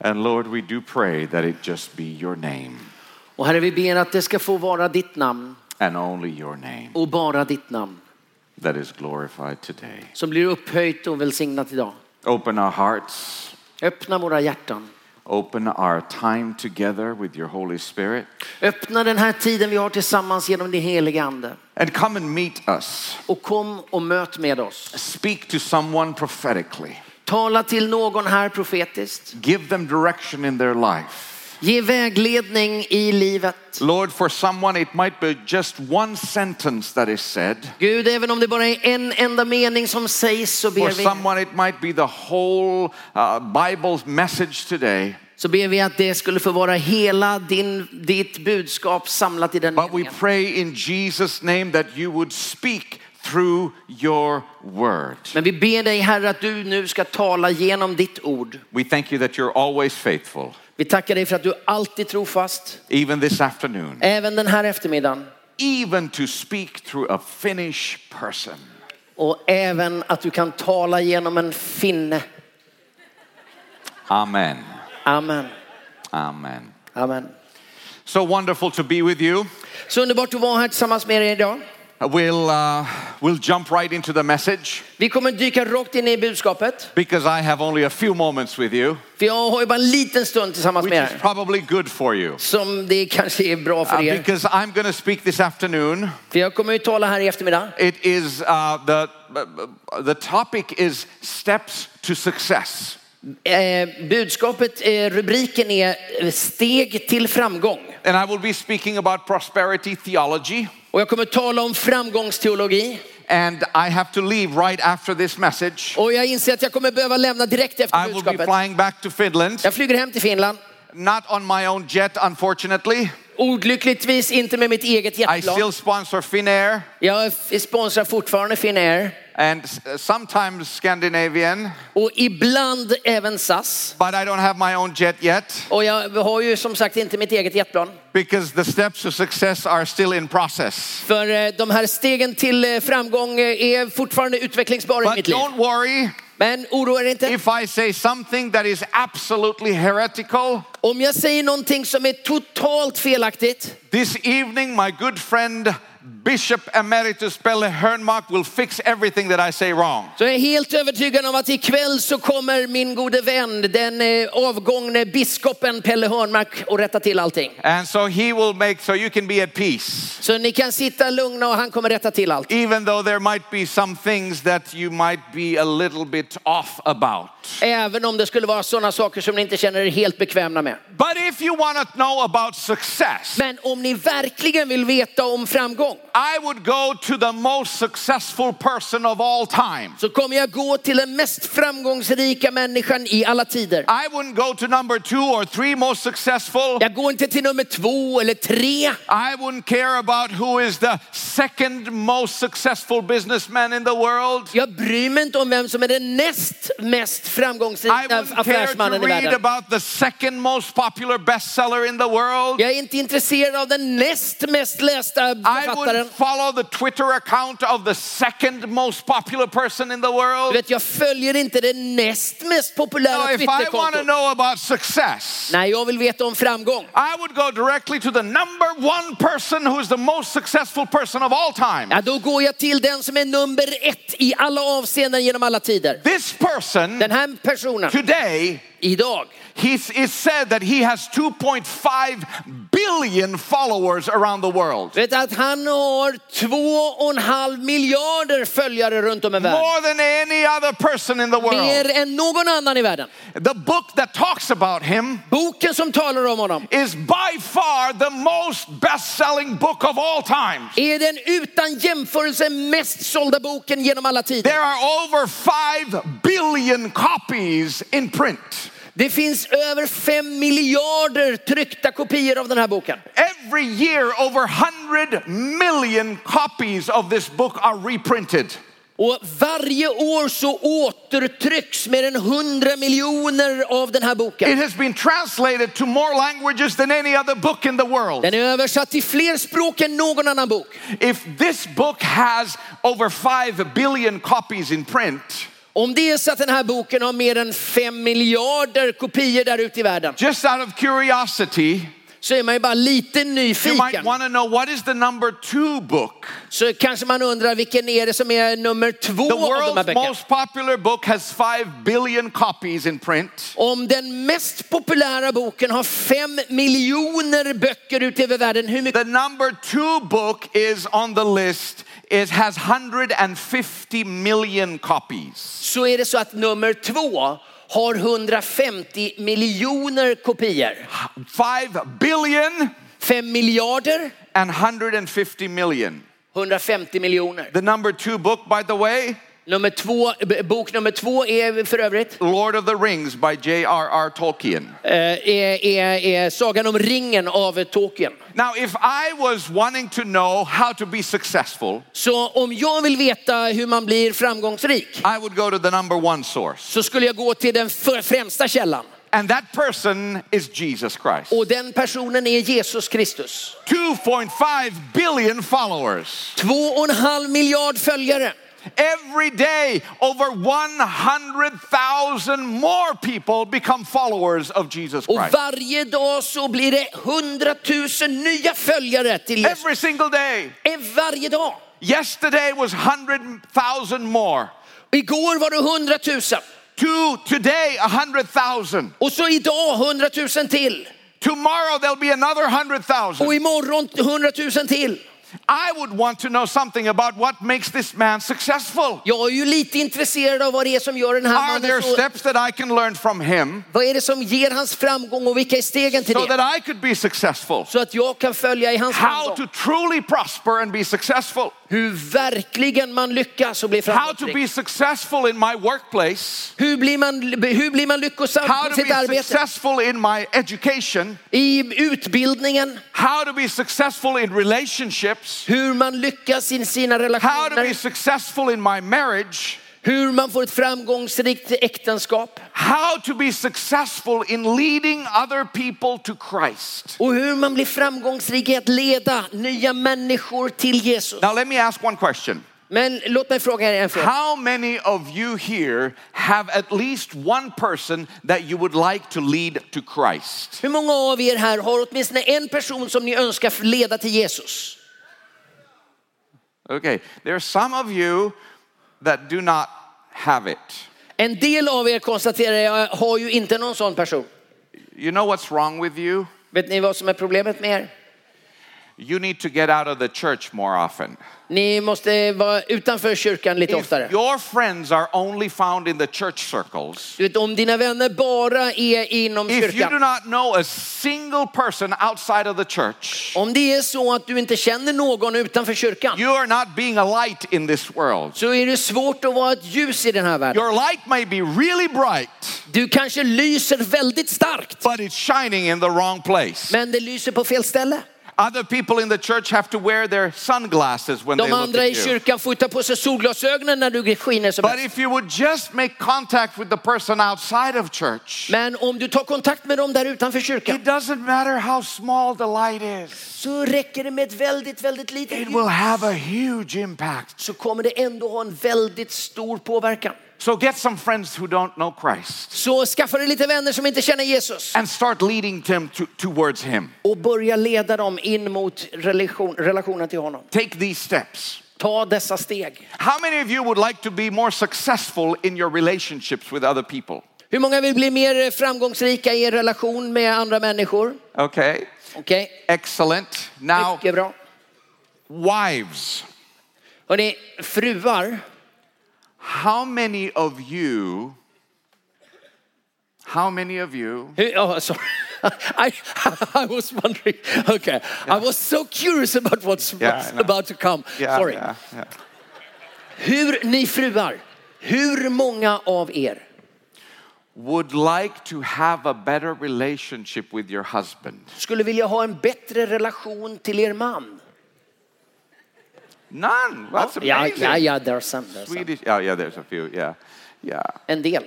And Lord, we do pray that it just be your name Och Herre, vi ber att det ska få vara ditt namn and only your name och bara ditt namn that is glorified today. som blir upphöjt och välsignat idag. Open our hearts, Öppna våra hjärtan. open our time together with your Holy Spirit, Öppna den här tiden vi har tillsammans genom din heliga ande. and come and meet us. Och kom och möt med oss. Speak to someone prophetically, Tala till någon här profetiskt. give them direction in their life. Ge vägledning i livet. Lord, for someone, it might be just one sentence that is said. Gud, även om det bara är en enda mening som sägs så For ber vi, someone, it might be the whole uh, Bible's message today. så ber vi att det skulle få vara hela din, ditt budskap samlat i den But we meningen. pray in Jesus' name that you would speak through your word. Men vi ber dig Herre att du nu ska tala genom ditt ord. We thank you that you're always faithful, Vi tackar dig för att du alltid är trofast, even this afternoon, även den här eftermiddagen. even to speak through a Finnish person. Och även att du kan tala genom en finne. Amen. Amen. Amen. Amen. So wonderful to be with you. Så underbart att vara här tillsammans med er idag. We'll, uh, we'll jump right into the message Vi kommer dyka rakt in i budskapet. because I have only a few moments with you, För jag har ju bara en liten stund tillsammans which med is er. probably good for you. Som det kanske är bra Uh, för er. because I'm going to speak this afternoon. För jag kommer ju tala här i eftermiddag. It is uh, the the topic is steps to success, Eh, budskapet, eh, rubriken är eh, Steg till framgång. and I will be speaking about prosperity theology. Och jag kommer tala om framgångsteologi. And I have to leave right after this message. Och jag inser att jag kommer behöva lämna direkt efter I will be budskapet. flying back to Finland, Jag flyger hem till Finland. not on my own jet, unfortunately. Olyckligtvis inte med mitt eget I jetplan. still sponsor Finnair Jag f- sponsrar fortfarande Finnair and s- uh, sometimes Scandinavian, och ibland även SAS. but I don't have my own jet yet Och jag har ju som sagt inte mitt eget jetplan. because the steps to success are still in process. För eh, de här stegen till eh, framgång eh, är fortfarande utvecklingsbara i But mitt liv. don't worry. Men oroa er inte. If I say something that is absolutely heretical, Om jag säger någonting som är totalt felaktigt this evening my good friend Bishop Emeritus Pelle Hernmark will fix everything that I say wrong. så är jag helt övertygad om att ikväll så kommer min gode vän, den eh, avgångne biskopen Pelle Hörnmark och rätta till allting. And so he will make so you can be at peace. Så ni kan sitta lugna och han kommer rätta till allt. Even though there might be some things that you might be a little bit off about. Även om det skulle vara sådana saker som ni inte känner er helt bekväma med. But if you want to know about success, Men om ni verkligen vill veta om framgång I would go to the most successful person of all time. så kommer jag gå till den mest framgångsrika människan i alla tider. I wouldn't go to number two or three most successful. Jag går inte till nummer två eller tre. I wouldn't care about who is the second most successful businessman in the world. Jag bryr mig inte om vem som är den näst mest I framgångsrika wouldn't care to affärsmannen i read världen. about the second most popular bestseller in the world. Jag är inte intresserad av den näst mest lästa I författaren. wouldn't follow the Twitter account of the second most popular person in the Du world. vet, jag följer inte det näst mest So populära if I want to Twitterkontot. know about success, Nej, jag vill veta om framgång. I would go directly to the number one person who is the most successful person of all time. Ja, då går jag till den som är nummer ett i alla avseenden genom alla tider. This person Den här personen, today idag, He is said that he has 2.5 billion followers around the world. vet att han har två och en halv miljarder följare runt om i världen. More than any other person in the world. Mer än någon annan i världen. The book that talks about him Boken som talar om honom is by far the most best selling book of all time. är den utan jämförelse mest sålda boken genom alla tider. There are over 5 billion copies in print. Det finns över fem miljarder tryckta kopior av den här boken. Every year, over 100 million copies of this book are reprinted. Och varje år så återtrycks mer än 100 miljoner av den här boken. It has been translated to more languages than any other book in the world. Den är översatt till fler språk än någon annan bok. If this book has over 5 billion copies in print, Om det är så att den här boken har mer än fem miljarder kopior där ute i världen Just out of curiosity, så är man ju bara lite you might nyfiken. want to know what is the number two book? Så kanske man undrar vilken är det som är nummer två The av de här world's böckerna. most popular book has 5 billion copies in print. Om den mest populära boken har fem miljoner böcker ute över världen, hur mycket? The number two book is on the list. It has 150 million copies. Så är det så att nummer två har 150 miljoner kopior. 5 billion Fem miljarder, and 150 million. 150 miljoner. The number two book, by the way, Nummer två, b- bok nummer två är för övrigt Lord of the Rings by J.R.R. Tolkien. eh, är, är, är Sagan om ringen av Tolkien. Now, if I was wanting to know how to be successful, Så om jag vill veta hur man blir framgångsrik I would go to the number one source. så skulle jag gå till den för- främsta källan. And that person is Jesus Christ. Och den personen är Jesus Kristus. 2.5 billion followers. Två och en halv miljard följare. Every day, over 100,000 more people become followers of Jesus Och Christ. varje dag så blir det hundratusen nya följare till Jesus. Every single day. Eh, Varje dag. Yesterday was 100,000 more. Igår var det hundratusen. To today, 100,000. Och så idag hundratusen till. Tomorrow, there'll be another 100,000. Och imorgon hundratusen till. I would want to know something about what makes this man successful. Jag är ju lite intresserad av vad det är som gör den här Are mannen there så... steps that I can learn from him Vad är det som ger hans framgång och vilka är stegen till so that det? I could be successful? Så att jag kan följa i hans How framgång. to truly prosper and be successful? Hur verkligen man lyckas och blir How to framgångsrik. be successful in my workplace? Hur blir man, hur blir man lyckosam How på to be sitt arbete? successful in my education? I utbildningen. How to be successful in relationships? Hur man lyckas i sina How to be relationer. successful in my marriage? Hur man får ett framgångsrikt äktenskap. How to be successful in leading other people to Christ? Och hur man blir framgångsrik i att leda nya människor till Jesus. Now, let me ask one question. Men låt mig fråga er en fråga. How many of you here have at least one person that you would like to lead to Christ? Hur många av er här har åtminstone en person som ni önskar leda till Jesus? Okay, there are some of you that do not have it. En del av er konstaterar jag har ju inte någon sån person. You know what's wrong with you? Vet ni vad som är problemet med er? You need to get out of the church more often. Ni måste vara utanför kyrkan lite If oftare. your friends are only found in the church circles, Du vet, om dina vänner bara är inom if you do kyrkan. not know a single person outside of the church, Om det är så att du inte känner någon utanför kyrkan you are not being a light in this world. så är det svårt att vara ett ljus i den här världen. Your light may be really bright, Du kanske lyser väldigt starkt, but it's shining in the wrong place. men det lyser på fel ställe. Other people in the church have to wear their sunglasses when they De look andra i at you. kyrkan får ta på sig solglasögonen när du skiner som But bäst. if you would just make contact with the person outside of church, Men om du tar kontakt med dem där utanför it kyrkan doesn't matter how small the light is, Typ så räcker det med ett väldigt, väldigt litet it ljus. will have a huge impact. Så kommer det ändå ha en väldigt stor påverkan. So get some friends who don't know Christ Så skaffa dig lite vänner som inte känner Jesus and start leading them to, towards Him. och börja leda dem in mot relation, relationen till honom. Take these steps. Ta dessa steg. How many of you would like to be more successful in your relationships with other people? Hur många vill bli mer framgångsrika i en relation med andra människor? Okay, Okej, excellent. Now, mycket bra. wives, Hörrni, fruar, how many of you, how many of you, Hey, Oh, sorry. I, I was wondering. Okay, I was so curious about what's, Yeah, I what's know. about to come. sorry. yeah, yeah. Hur ni fruar, hur många av er would like to have a better relationship with your husband? skulle vilja ha en bättre relation till er man? None. That's Ja, amazing. ja, ja, there's some, there's some. Oh, Swedish. Oh, yeah, there's a few. Yeah, yeah. En del.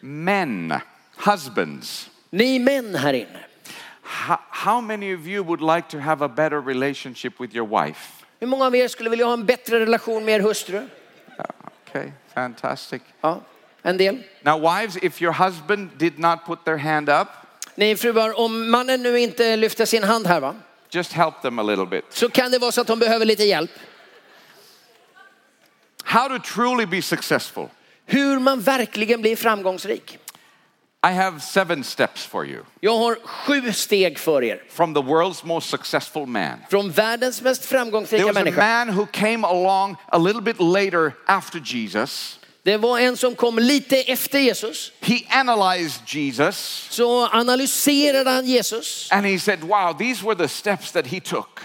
Men, husbands, Ni män här inne, how, how many of you would like to have a better relationship with your wife? hur många av er skulle vilja ha en bättre relation med er hustru? Okay. Fantastic. Ja, en del. Now, wives, if your husband did not put their hand up, Ni fruar, om mannen nu inte lyfter sin hand här va, just help them a little bit. så kan det vara så att de behöver lite hjälp. How to truly be successful. Hur man verkligen blir framgångsrik. I have seven steps for you Jag har sju steg för er. from the world's most successful man. Från världens mest There framgångsrika was a människa. man who came along a little bit later after Jesus. Det var en som kom lite efter Jesus. He analyzed Jesus Så analyserade han Jesus. and he said, Wow, these were the steps that he took.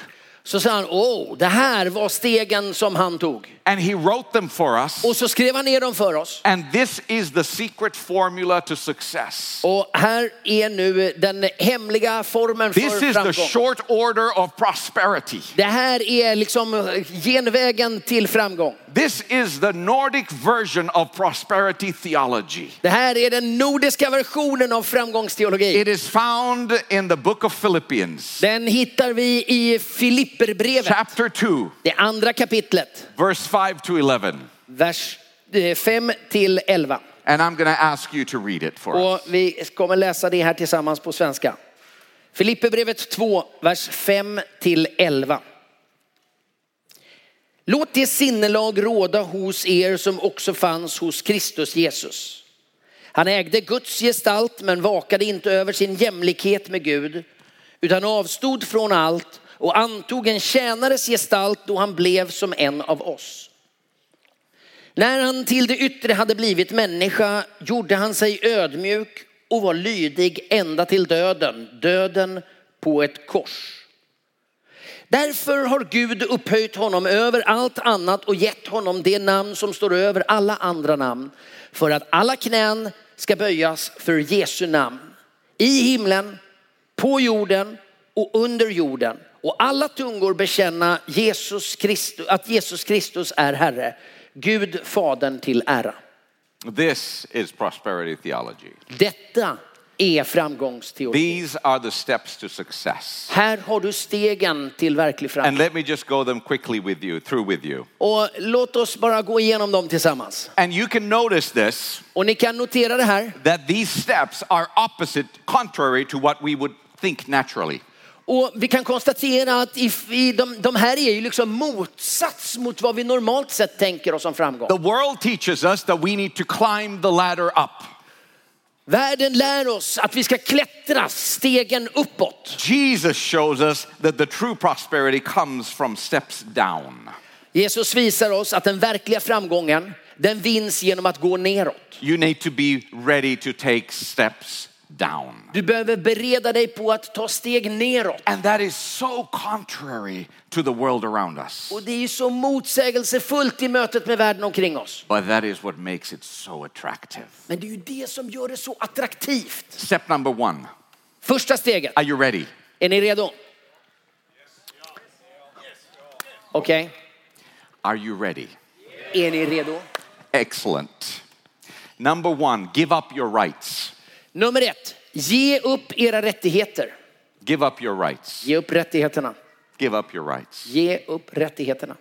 Så sa han, åh, det här var stegen som han tog. And he wrote them for us. Och så skrev han ner dem för oss. And this is the secret formula to success. Och här är nu den hemliga formeln This för is the framgång. short order of prosperity. Det här är liksom genvägen till framgång. This is the Nordic version of prosperity theology. Det här är den nordiska versionen av framgångsteologi. It is found in the book of Philippians, Den hittar vi i Filipperbrevet, chapter 2, det andra kapitlet, verse 5 to 11. vers 5 till 11. And I'm going to ask you to read it for us. Och vi kommer läsa det här tillsammans på svenska. Filipperbrevet 2, vers 5 till 11. Låt det sinnelag råda hos er som också fanns hos Kristus Jesus. Han ägde Guds gestalt men vakade inte över sin jämlikhet med Gud utan avstod från allt och antog en tjänares gestalt då han blev som en av oss. När han till det yttre hade blivit människa gjorde han sig ödmjuk och var lydig ända till döden, döden på ett kors. Därför har Gud upphöjt honom över allt annat och gett honom det namn som står över alla andra namn. För att alla knän ska böjas för Jesu namn. I himlen, på jorden och under jorden. Och alla tungor bekänna Jesus Kristus, att Jesus Kristus är Herre. Gud Fadern till ära. This is prosperity theology. Detta är framgångsteori. These are the steps to success. Här har du stegen till verklig And framgång. let me just go them quickly with you, through with you. Och låt oss bara gå igenom dem tillsammans. And you can notice this Och ni kan notera det här. that these steps are opposite, contrary to what we would think naturally. Och vi kan konstatera att i, i de, de här är ju liksom motsats mot vad vi normalt sett tänker oss som framgång. The world teaches us that we need to climb the ladder up. Världen lär oss att vi ska klättra stegen uppåt. Jesus shows us that the true prosperity comes from steps down. Jesus visar oss att den verkliga framgången, den vinns genom att gå neråt. You need to be ready to take steps down. Du behöver bereda dig på att ta steg neråt. And that is so contrary to the world around us. Och det är ju så motsägelsefullt i mötet med världen omkring oss. But that is what makes it so attractive. Men det är ju det som gör det så attraktivt. Step number one Första steget, Are you ready? är ni redo? Okej. Are you ready? Är ni redo? Excellent. Number one, give up your rights. Nummer ett, ge upp era rättigheter. Give up your rights. Ge upp rättigheterna. Give up your rights. Ge upp rättigheterna.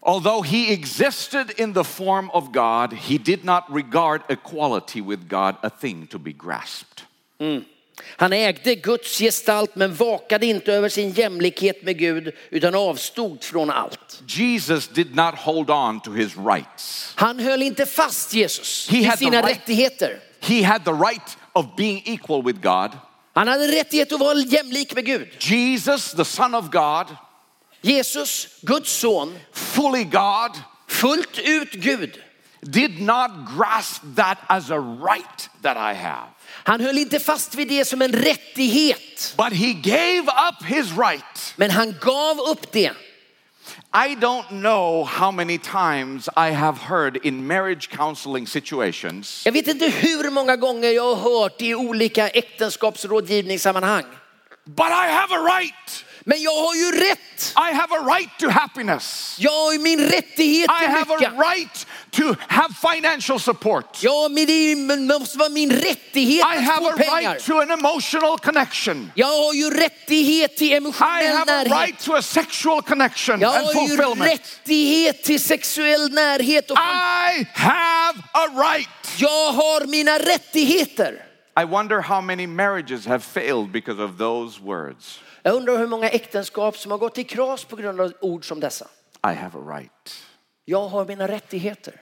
Although he existed in the form of God, he did not regard equality with God a thing to be grasped. Han ägde Guds gestalt men vakade inte över sin jämlikhet med Gud utan avstod från allt. Jesus did not hold on to his rights. Han höll inte fast Jesus He i had the sina right- rättigheter. He had the right of being equal with God. Han hade rättighet att vara jämlik med Gud. Jesus, the Son of God, Jesus, Guds son, fully God, fullt ut Gud. did not grasp that as a right that I have. Han höll inte fast vid det som en rättighet. But he gave up his right. Men han gav upp det. I don't know how many times I have heard in marriage counseling situations Jag vet inte hur många gånger jag har hört i olika äktenskapsrådgivningssammanhang. But I have a right. Men jag har ju rätt. I have a right to happiness. Jag har ju min rättighet I till have a lycka. right to have financial support. Ja, men det är ju- men det måste vara min rättighet I att have få a pengar. right to an emotional connection. Jag har ju rättighet till I emotionell have a närhet. right to a sexual connection Jag and har ju fulfillment. rättighet till sexuell närhet. Och I have a right. jag har mina rättigheter. I wonder how many marriages have failed because of those words. Jag undrar hur många äktenskap som har gått i kras på grund av ord som dessa. I have a right. Jag har mina rättigheter.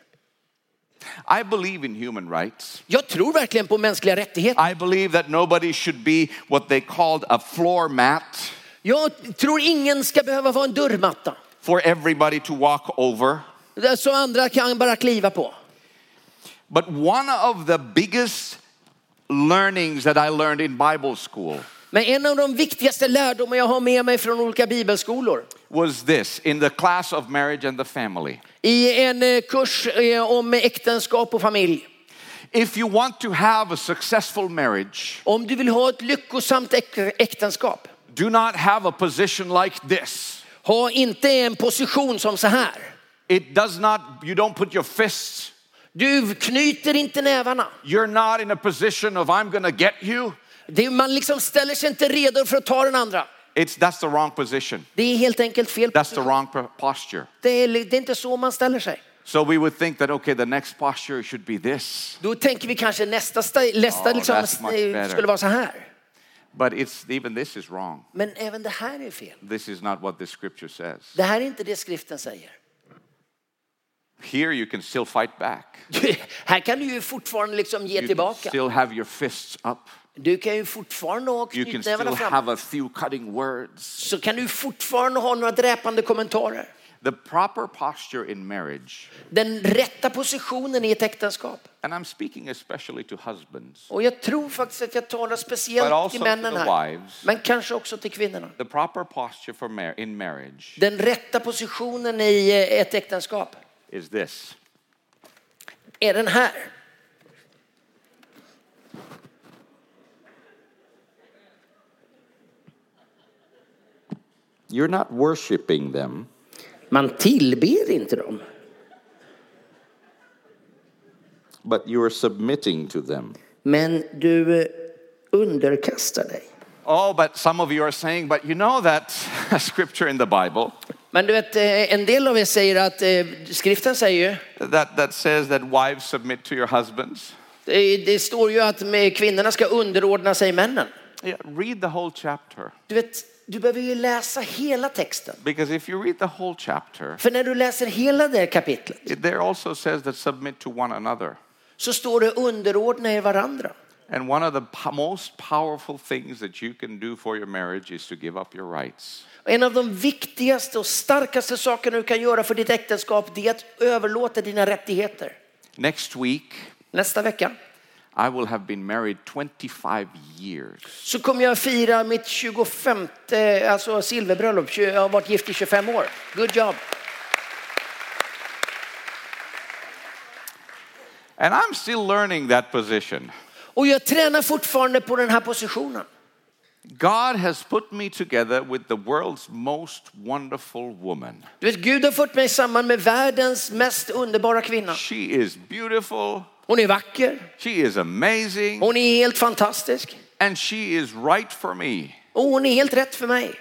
I believe in human rights. Jag tror verkligen på mänskliga rättigheter. I believe that nobody should be what they called a floor mat Jag tror ingen ska behöva vara en dörrmatta. for everybody to walk over. Där Så andra kan bara kliva på. But one of the biggest learnings that I learned in Bible school Men en av de viktigaste lärdomar jag har med mig från olika bibelskolor was this in the class of marriage and the family. i en eh, kurs eh, om äktenskap och familj. If you want to have a successful marriage, Om du vill ha ett lyckosamt äk- äktenskap, do not have a position like this. ha inte en position som så här. It does not, you don't put your fists, Du knyter inte nävarna. you're not in a position of I'm gonna get you. Det, man liksom ställer sig inte redo för att ta den andra. It's, that's the wrong position. Det är helt enkelt fel. That's the wrong po- posture. Det är, det är inte så man ställer sig. So we would think that, okay, the next posture should be this, Då tänker vi kanske nästa, sta- nästa Oh, liksom, that's much better. skulle vara så här. but it's, even this is wrong. Men även det här är fel. This is not what the scripture says. Det här är inte det skriften säger. Here you can still fight back. här kan du ju fortfarande liksom ge You can tillbaka. still have your fists up. Du kan ju fortfarande ha You can knytnävarna still fram. have a few cutting words. Så kan du fortfarande ha några dräpande kommentarer. The proper posture in marriage, Den rätta positionen i ett äktenskap. and I'm speaking especially to husbands, Och jag tror faktiskt att jag talar but speciellt also till to männen the här. wives. Men kanske också till kvinnorna. The proper posture for mar- in marriage Den rätta positionen i eh, ett äktenskap is this. är den här. You're not worshiping them. Man tillber inte dem. but you are submitting to them. Men du eh, underkastar dig. Oh, but some of you are saying, but you know that scripture in the Bible Men du vet, eh, en del av er säger att eh, skriften säger ju, that, that says that wives submit to your husbands. det, det står ju att eh, kvinnorna ska underordna sig männen. Yeah, read the whole chapter. Du vet, du behöver ju läsa hela texten. Because if you read the whole chapter, För när du läser hela det här kapitlet it there also says that submit to one another. så står det underordna er varandra. And one of the po- most powerful things that you can do for your marriage is to give up your rights. Och En av de viktigaste och starkaste sakerna du kan göra för ditt äktenskap det är att överlåta dina rättigheter. Next week, Nästa vecka I will have been married 25 years. så kommer jag fira mitt 25 alltså silverbröllop. Tju- Jag har varit gift i 25 år. Good job. And I'm still learning that position. Och jag tränar fortfarande på den här positionen. God has put me together with the world's most wonderful woman. Du vet, Gud har fört mig samman med världens mest underbara kvinna. She is beautiful, Hon är vacker, she is amazing, hon är helt fantastisk and she is right for me och hon är helt rätt för mig.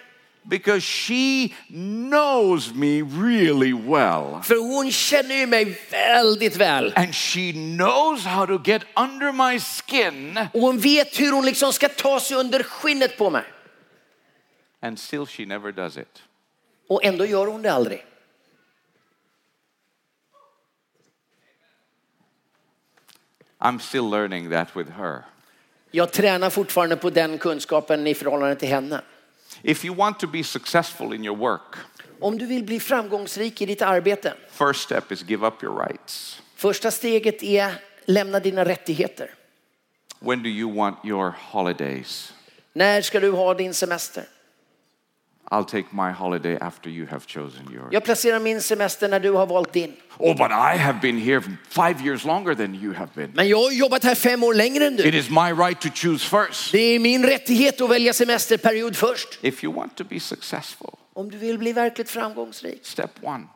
because she knows me really well. För hon känner ju mig väldigt väl. And she knows how to get under my skin, Och hon vet hur hon liksom ska ta sig under skinnet på mig. and still she never does it. Och ändå gör hon det aldrig. I'm still learning that with her. Jag tränar fortfarande på den kunskapen i förhållande till henne. If you want to be successful in your work, Om du vill bli framgångsrik i ditt arbete, first step is give up your rights. första steget är lämna dina rättigheter. When do you want your holidays? När ska du ha din semester? I'll take my holiday after you have chosen yours. Jag placerar min semester när du har valt din. Oh, but I have been here five years longer than you have been. Men jag har jobbat här fem år längre än du. It is my right to choose first. Det är min rättighet att välja semesterperiod först. If you want to be successful, Om du vill bli verkligt framgångsrik. step one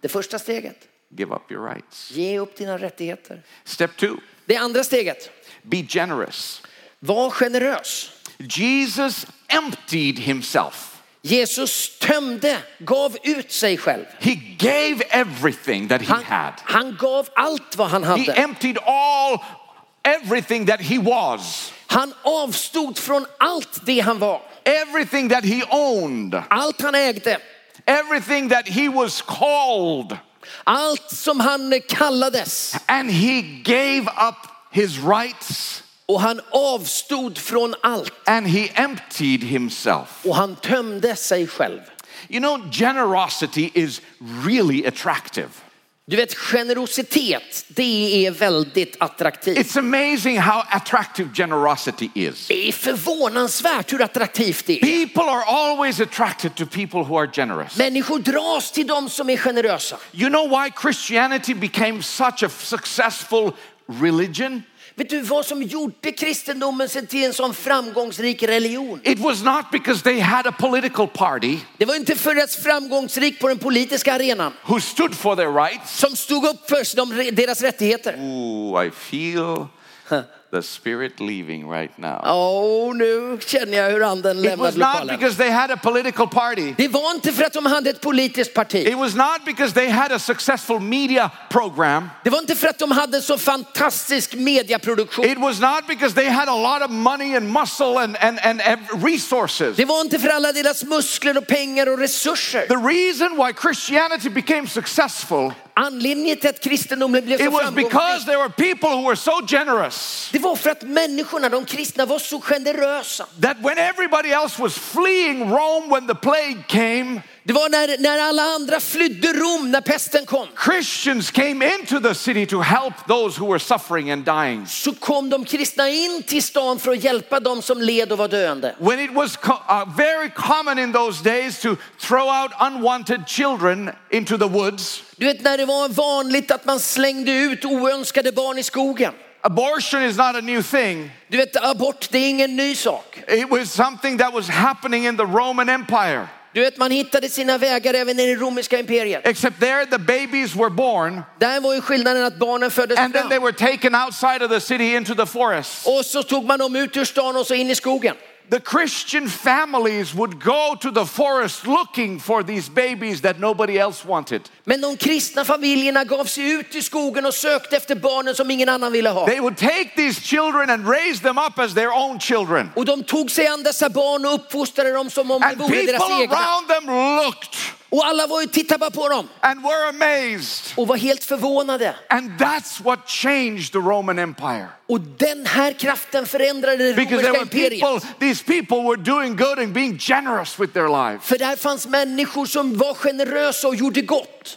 Det första steget. Give up your rights. Ge upp dina rättigheter. Step two, Det andra steget. be generous. Var generös. Jesus emptied himself. Jesus tömde, gav ut sig själv. He gave everything that he Han, had. han gav allt vad han He hade. emptied all, everything that he was, Han avstod från allt det han var. everything that he owned, Allt han ägde. everything that he was called, Allt som han kallades. and he gave up his rights Och han avstod från allt. and he emptied himself. Och han tömde sig själv. You know, generosity is really attractive. Du vet, generositet, det är väldigt attraktivt. It's amazing how attractive generosity is. Det är förvånansvärt hur attraktivt det är. People are always attracted to people who are generous. Människor dras till de som är generösa. You know why Christianity became such a successful religion? Vet du vad som gjorde kristendomen till en sån framgångsrik religion? It was not because they had a political party Det var inte förrän framgångsrik på den politiska arenan who stood for their rights. som stod upp för de, deras rättigheter. Ooh, I feel the spirit leaving right now. Åh, nu känner jag hur anden It lämnat was not lokalen. because they had a political party. Det var inte för att de hade ett politiskt parti. It was not because they had a successful media program. Det var inte för att de hade så fantastisk mediaproduktion. It was not because they had a lot of money and muscle and, and, and ev- resources. Det var inte för alla deras muskler och pengar och resurser. The reason why Christianity became successful, Anledningen till att kristendomen blev så it was framgångsrik, because there were people who were so generous det var för att människorna, de kristna, var så generösa. that when everybody else was fleeing Rome when the plague came, Det var när, när alla andra flydde Rom när pesten kom. Christians came into the city to help those who were suffering and dying. Så kom de kristna in till stan för att hjälpa dem som led och var döende. When it was co- uh, very common in those days to throw out unwanted children into the woods, Du vet när det var vanligt att man slängde ut oönskade barn i skogen. abortion is not a new thing. Du vet abort, det är ingen ny sak. It was something that was happening in the Roman Empire. Du vet man hittade sina vägar även i det romerska imperiet. Except there, the babies were born Där var ju skillnaden att barnen föddes and then they fram. were taken outside of the city into the forest. Och så tog man dem ut ur stan och så in i skogen. The Christian families would go to the forest looking for these babies that nobody else wanted. Men de kristna familjerna gav sig ut i skogen och sökte efter barnen som ingen annan ville ha. They would take these children and raise them up as their own children. Och de tog sig an dessa barn och uppfostrade dem som om det And vore people deras egna. around them looked Och alla var ju tittade bara på dem and were amazed. och var helt förvånade. And that's what changed the Roman Empire. Och den här kraften förändrade det Because there romerska were imperiet. people, these people were doing good and being generous with their lives. För där fanns människor som var generösa och gjorde gott.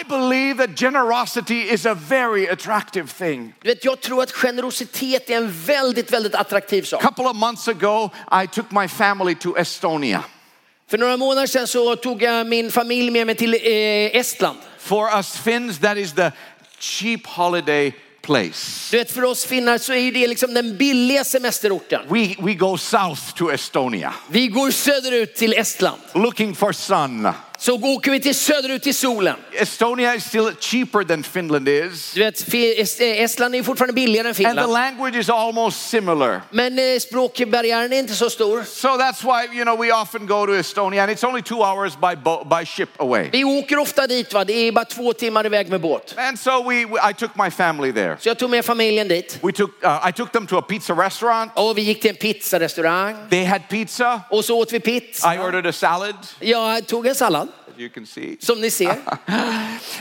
I believe that generosity is a very attractive thing. Du vet, jag tror att generositet är en väldigt, väldigt attraktiv A sak. couple of months ago, I took my family to Estonia För några månader sedan så tog jag min familj med mig till eh, Estland. For us Finns, that is the cheap holiday place. Du vet, för oss finnar så är ju det liksom den billiga semesterorten. We, we go south to Estonia Vi går söderut till Estland. looking for sun. Så åker vi till söderut till solen. Estonia is still cheaper than Finland is, Du vet, Fi- Est- eh, Estland är ju fortfarande billigare än and the Finland. language is almost similar. Men eh, språkbarriären är inte så stor. So that's why, you know, we often go to Estonia, and it's only two hours by, bo- by ship away. Vi åker ofta dit, va? det är bara två timmar iväg med båt. And so we, we- I took my family there. Så jag tog med familjen dit. We took, uh, I took them to a pizza restaurant. Och vi gick till en pizzarestaurang. They had pizza. Och så åt vi pizza. I ordered a salad, Jag tog en sallad, as you can see. som ni ser.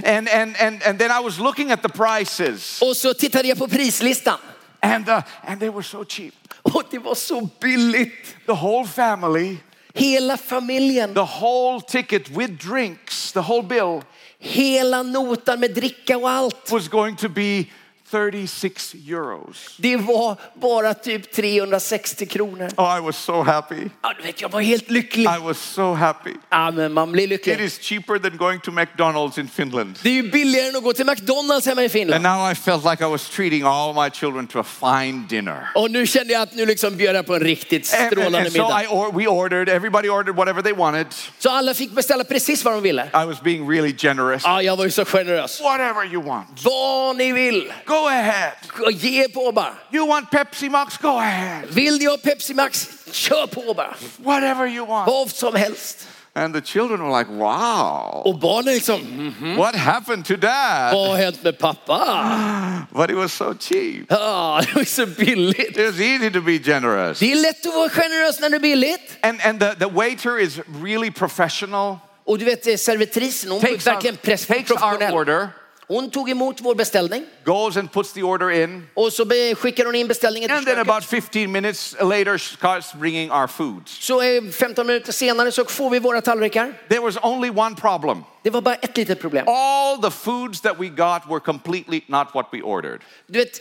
And, and, and, and then I was looking at the prices, Och så tittade jag på prislistan. and, uh, and they were so cheap. Och det var så billigt. The whole family, Hela familjen, the whole ticket with drinks, the whole bill hela notan med dricka och allt. was going to be 36 euros. Det var bara typ 360 kronor. Oh, I was so happy. Ja, du vet, jag var helt lycklig. I was so happy. Ja, men man blir It lycklig. is cheaper than going to McDonald's in Finland. Det är ju billigare än att gå till McDonalds hemma i And Finland. now I felt like I was treating all my children to a fine dinner. Och nu kände jag att nu liksom bjöd jag på en riktigt And, and- strålande and so middag. I or, we ordered, everybody ordered whatever they wanted. Så alla fick beställa precis vad de ville. I was being really generous. Ja, jag var ju så generös. Whatever you want, Vad ni vill, go ahead. ge på bara. You want Pepsi Max, go ahead. Vill ni ha Pepsi Max, kör på bara. Whatever you want. Vad som helst. And the children were like, wow, Och barnen liksom, "Mhm, what happened to dad? vad har hänt med pappa? But it was so cheap. Ja, det var ju så billigt. It was easy to be generous. Det är lätt att vara generös när det är billigt. And, and the, the waiter is really professional. Och du vet eh, servitrisen, hon var ju Takes our, verkligen press- takes our professionell. order, Hon tog emot vår beställning goes and puts the order in. och så be- skickar hon in beställningen till And then köket. about 15 minutes later, she starts bringing our food. Så eh, 15 minuter senare så får vi våra tallrikar. There was only one problem. Det var bara ett litet problem. All the foods that we got were completely not what we ordered. Du vet,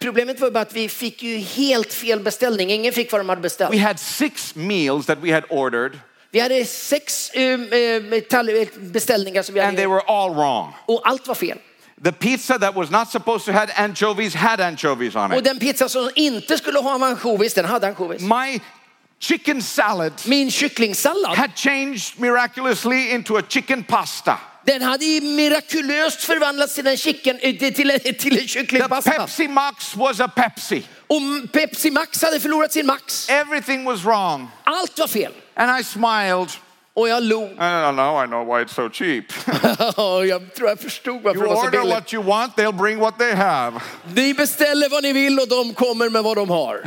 problemet var bara att vi fick ju helt fel beställning. Ingen fick vad de hade beställt. We had six meals that we had ordered, Vi hade sex um, um, tall- eh, beställningar som vi and hade they gjort. were all wrong. och allt var fel. The pizza that was not supposed to had anchovies had anchovies on Och it. den pizza som inte skulle ha ansjovis, den hade ansjovis. My chicken salad Min kycklingsallad, had changed miraculously into a chicken pasta. den hade ju mirakulöst förvandlats till en, chicken, eh, till, till, en- till en The kycklingpasta. Pepsi Max was a Pepsi. Och Pepsi Max hade förlorat sin Max. Everything was wrong. Allt var fel. And I smiled. Och jag log. I don't know, I know why it's so cheap. jag tror jag förstod varför You det var så order billigt. what you want, they'll bring what they have. Ni beställer vad ni vill och de kommer med vad de har.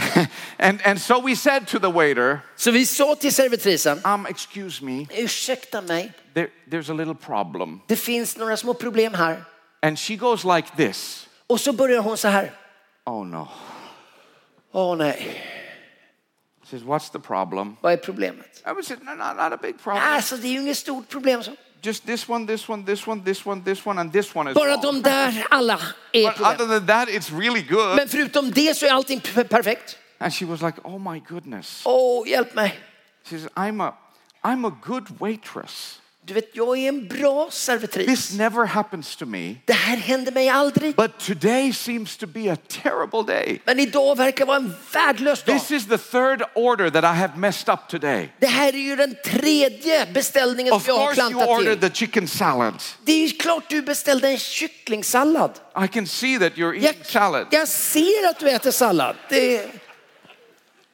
And, and so we said to the waiter, Så vi sa till servitrisen, um, excuse me, ursäkta mig, there, there's a little problem. det finns några små problem här. And she goes like this. Och så börjar hon så här, Oh no. åh nej, She says, what's the problem? vad är problemet? I would say, no, no, not a big problem. Alltså det är ju inget stort problem. Så. Just this one, this one, this one, this one, this one, and this one is Bara wrong. de där alla är But other problem. than that, it's really good. Men förutom det så är allting p- perfekt. And she was like, oh my goodness. Åh, hjälp mig. She says, I'm a, I'm a good waitress. Du vet, jag är en bra servitris. This never happens to me. Det här händer mig aldrig. But today seems to be a terrible day. Men idag verkar vara en värdelös dag. This is the third order that I have messed up today. Det här är ju den tredje beställningen Of som jag har course, you klantat ordered till. the chicken salad. Det är ju klart du beställde en kycklingsallad. I can see that you're Jag, eating salad. jag ser att du äter sallad. Det,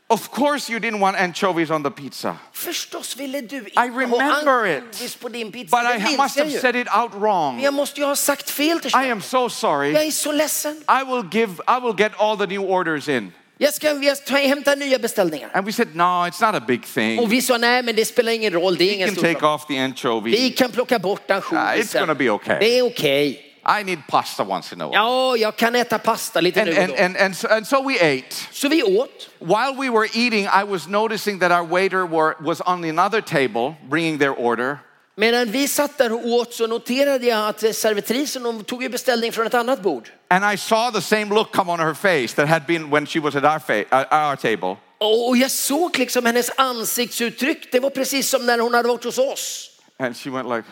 Of course, you didn't want anchovies on the pizza. förstås ville du inte I remember ha it. ansjovis på din pizza. But Det I minns must jag have ju. said it out Men wrong. Jag måste ju ha sagt fel till I köket. am so Jag sorry. är så ledsen. I will give. I will get all the new orders in. Jag ska, jag ska hämta nya beställningar. And we said, no, it's not a big thing. Och vi sa nej, men det spelar ingen roll. Det är We ingen can stor take problem. off the Vi anchovy. kan plocka bort Ah, it's ansjovisen. gonna be okay. Det är okej. I need pasta once in a while. Ja, jag kan äta pasta lite And nu och and då. and and so, and so we ate. Så vi åt. While we were eating, I was noticing that our waiter were, was on another table bringing their order. Medan vi satt där och åt så noterade jag att eh, servitrisen hon tog ju beställning från ett annat bord. And I saw the same look come on her face that had been when she was at our, fa- uh, our table. Och jag såg liksom hennes ansiktsuttryck. Det var precis som när hon hade varit hos oss. And she went like,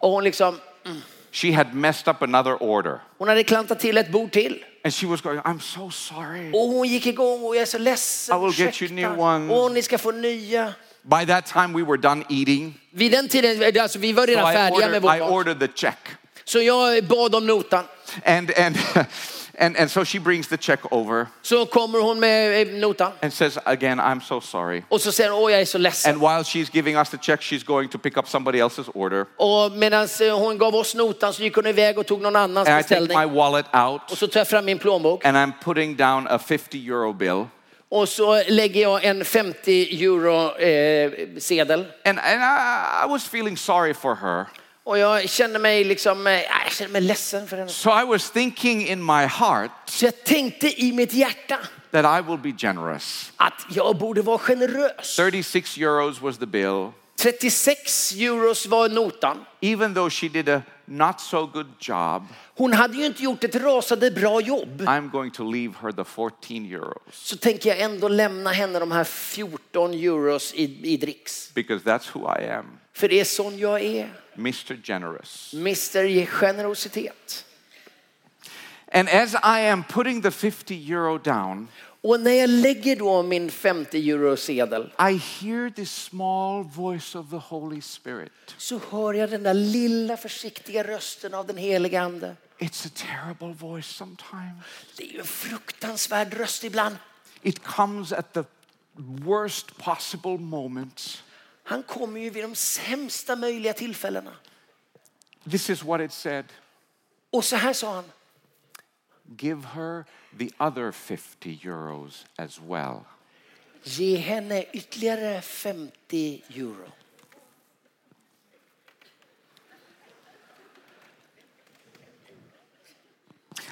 Och hon liksom, she had messed up another order. hon hade klantat till ett bord till. And she was going, I'm so sorry. Och hon gick igång och jag är så ledsen. I will get you ursäkta. new ones. Och ni ska få nya. By that time, we were done eating. Vid den tiden, alltså vi var So redan I, färdiga med ordered, vår I mat. ordered the check. Så jag bad om notan. And, and, and, and so she brings the check over Så kommer hon med eh, notan. and says, Again, I'm so sorry. Och så säger hon, åh jag är så ledsen. And while she's giving us the check, she's going to pick up somebody else's order. Och medan hon gav oss notan så gick hon iväg och tog någon annans And I take beställning. my wallet out Och så tar jag fram min plånbok and I'm putting down a 50 euro bill. och så lägger jag en 50 euro eh, sedel. And, and I, I was feeling sorry for her. Och jag känner mig liksom, eh, jag känner mig ledsen för henne. So I was thinking in my heart Så jag tänkte i mitt hjärta that I will be generous. att jag borde vara generös. 36 euros was the bill. 36 euros var notan. Even though she did a not so good job, Hon hade ju inte gjort ett rasande bra jobb. I'm going to leave her the 14 euros Så tänker jag ändå lämna henne de här 14 euros i, i dricks. because that's who I am, För det är sån jag är. Mr. Generous. Mr Generositet. And as I am putting the 50 euro down, Och när jag lägger då min 50 eurosedel I hear this small voice of the Holy Spirit. så hör jag den där lilla försiktiga rösten av den helige ande. It's a terrible voice sometimes. Det är ju en fruktansvärd röst ibland. It comes at the worst possible moments. Han kommer ju vid de sämsta möjliga tillfällena. This is what it said Och så här sa han. Give her the other 50 euros as well. Ge henne ytterligare 50 euro.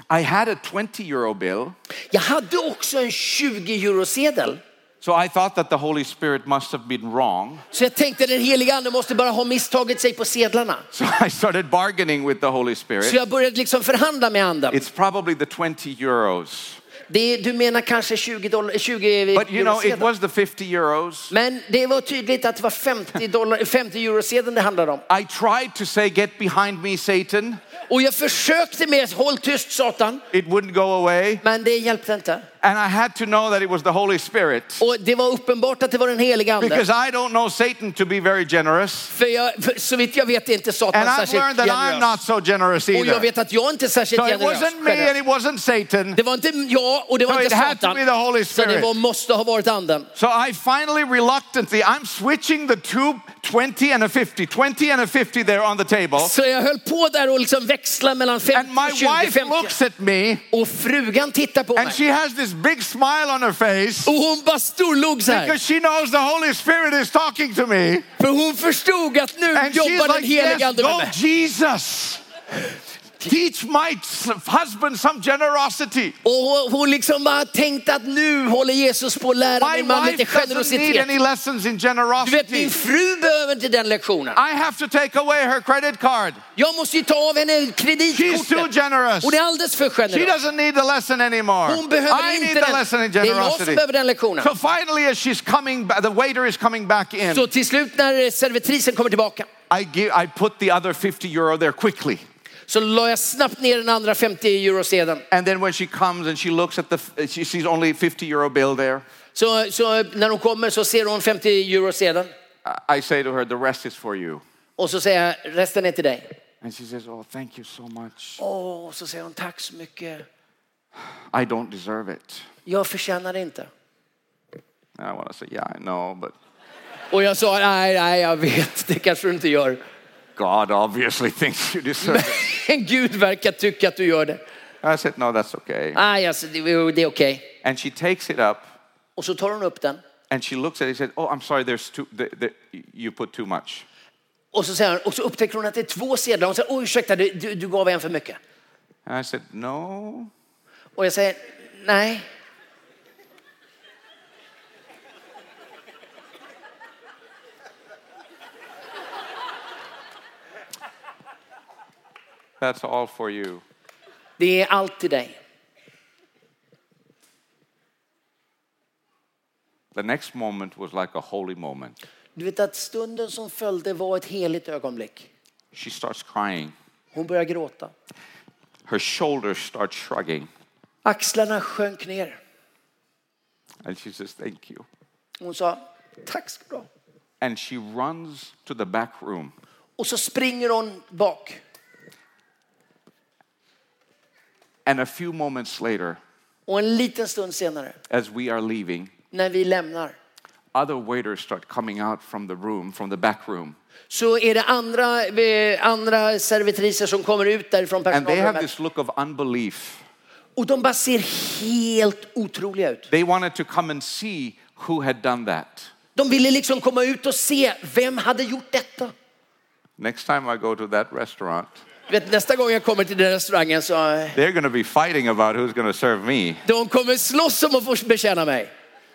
I had a 20 euro bill, Jag hade också en 20 eurosedel. so I thought that the Holy Spirit must have been wrong. Så jag tänkte den heliga ande måste bara ha misstagit sig på sedlarna. So I started bargaining with the Holy Så Spirit. jag började liksom förhandla med anden. It's probably the 20 euros. Det, du menar kanske 20, dollar, 20 But you know, it eurosedel. was the 50 euros. Men det var tydligt att det var 50, dollar, 50 eurosedeln det handlade om. I tried to say, Get behind me, Satan. Och jag försökte med håll tyst satan, It wouldn't go away. men det hjälpte inte. And I had to know that it was the Holy Spirit. Och det var uppenbart att det var den heliga ande. Because I don't know Satan to be very generous. För, jag, för så vitt jag vet är inte And Satan I've särskilt learned that I'm not generös. so generous Och jag either. vet att jag inte är särskilt So it generös. wasn't me and generös. it wasn't Satan. Det var inte jag och det var So it inte had to be the Satan. Holy Så det var, Spirit. måste ha varit anden. So I finally reluctantly, I'm switching the two 20 and a 50, 20 and a 50 there on the table. Så jag höll på där och liksom växla mellan And 50 my och 20, wife 50. looks at me Och frugan tittar på and mig. she has this big smile on her face Och hon bara storlog så här. because she knows the Holy Spirit is talking to me. För hon förstod att nu And she's jobbar den like, helige yes, ande med go mig. Jesus. Teach my s- husband some generosity. Och hon, hon liksom bara tänkte att nu håller Jesus på att lära My min man lite wife doesn't need generositet. any lessons in Du vet generosity. min fru behöver inte den lektionen. I have to take away her credit card. Jag måste ju ta av henne She's too kreditkortet. generous. Hon är alldeles för She generös. doesn't need the lesson anymore. Hon behöver I inte need the den. lesson in Det är jag som generosity. behöver den lektionen. So finally, as she's coming, ba- the waiter is coming back in. Så till slut när servitrisen kommer tillbaka I give, I put the other 50 euro there quickly. så la jag snabbt ner den andra 50 eurosedeln. And then when she comes and she looks at the, f- she sees only 50 euro bill there. Så, så när hon kommer så ser hon 50 eurosedeln I- I say to her, the rest is for you. och så säger jag resten är till dig. And she says, oh, thank you so much. Åh, så säger hon tack så mycket. I don't deserve it. Jag förtjänar det inte. And I want to say, yeah, I know, but Och jag sa nej, nej, jag vet, det kanske du inte gör. God obviously thinks you deserve it. Men Gud verkar tycka att du gör det. I said, no, that's okay. Nej, alltså, det, det är okej. And she takes it up Och så tar hon upp den and she looks at it and says, oh, I'm sorry, there's too, the, the, you put too much. och så, säger hon, och så upptäcker hon att det är två sedlar. Hon säger, oj ursäkta, du, du, du gav en för mycket. And I said, no. Och jag säger, nej. That's all for you. Det är allt till dig. The next moment was like a holy moment. Du vet att stunden som följde var ett heligt ögonblick. She starts crying. Hon började gråta. Her shoulders start shrugging. Axlarna sjönk ner. And she says, thank you. Hon sa, tack ska du ha. And she runs to the back room. Och så springer hon bak. And a few moments later, Och en liten stund senare, as we are leaving, när vi lämnar, other waiters start coming out from the room, from the back room. så är det andra, eh, andra servitriser som kommer ut därifrån And they have personalrummet. this look of unbelief. Och de bara ser helt otroliga ut. They wanted to come and see who had done that. De ville liksom komma ut och se, vem hade gjort detta? Next time I go to that restaurant, Du Vet, nästa gång jag kommer till den restaurangen så, eh, they're going to be fighting about who's going to serve me. de kommer slåss om att få betjäna mig.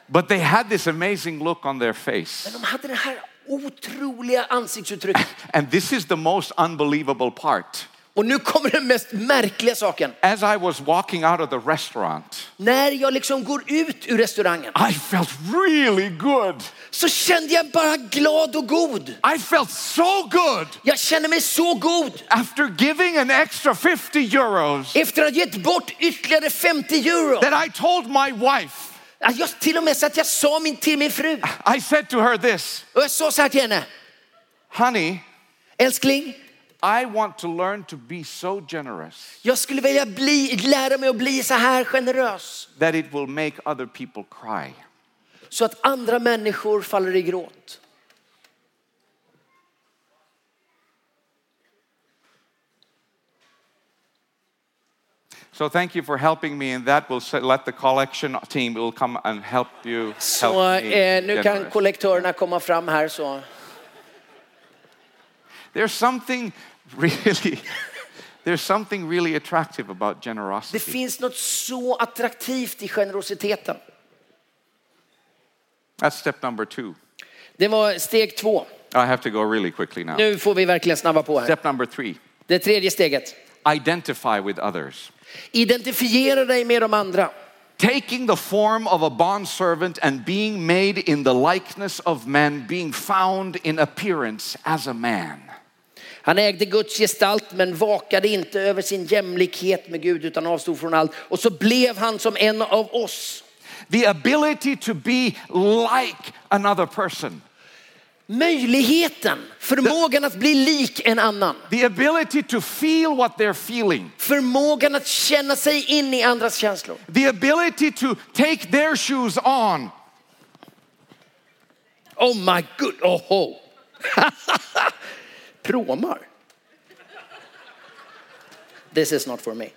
But they had this amazing look on their face. Men de hade det här otroliga ansiktsuttryck. And this is the most unbelievable part. Och nu kommer den mest märkliga saken. As I was walking out of the restaurant, När jag liksom går ut ur restaurangen I felt really good. så kände jag bara glad och god. I felt so good Jag känner mig så god. after giving an extra 50 euros Efter att ha gett bort ytterligare 50 euro. that I told my wife. Att Jag, till och med så att jag sa min, till min fru. I said to her this, Och jag sa så här till henne. honey, Älskling, I want to learn to be so generous jag skulle vilja bli, lära mig att bli så här generös. that it will make other people cry. Så att andra människor faller i gråt. So thank you for helping me in that. We'll s- let the collection team will come and help you. Så help me eh, nu kan generous. kollektörerna komma fram här. Så. There's something really, there's something really attractive about Det generosity. finns något så attraktivt i generositeten. That's step number two. Det var steg två. I have to go really quickly now. Nu får vi verkligen snabba på här. Step number three: Det tredje steget. identify with others. Identifiera dig med de andra. Taking the form of a bondservant and being made in the likeness of man, being found in appearance as a man. Han ägde Guds gestalt men vakade inte över sin jämlikhet med Gud utan avstod från allt. Och så blev han som en av oss. The ability to be like another person. Möjligheten, förmågan att bli lik en annan. The ability to feel what they're feeling. Förmågan att känna sig in i andras känslor. The ability to take their shoes on. Oh my god, oho. Pråmar. This is not for me.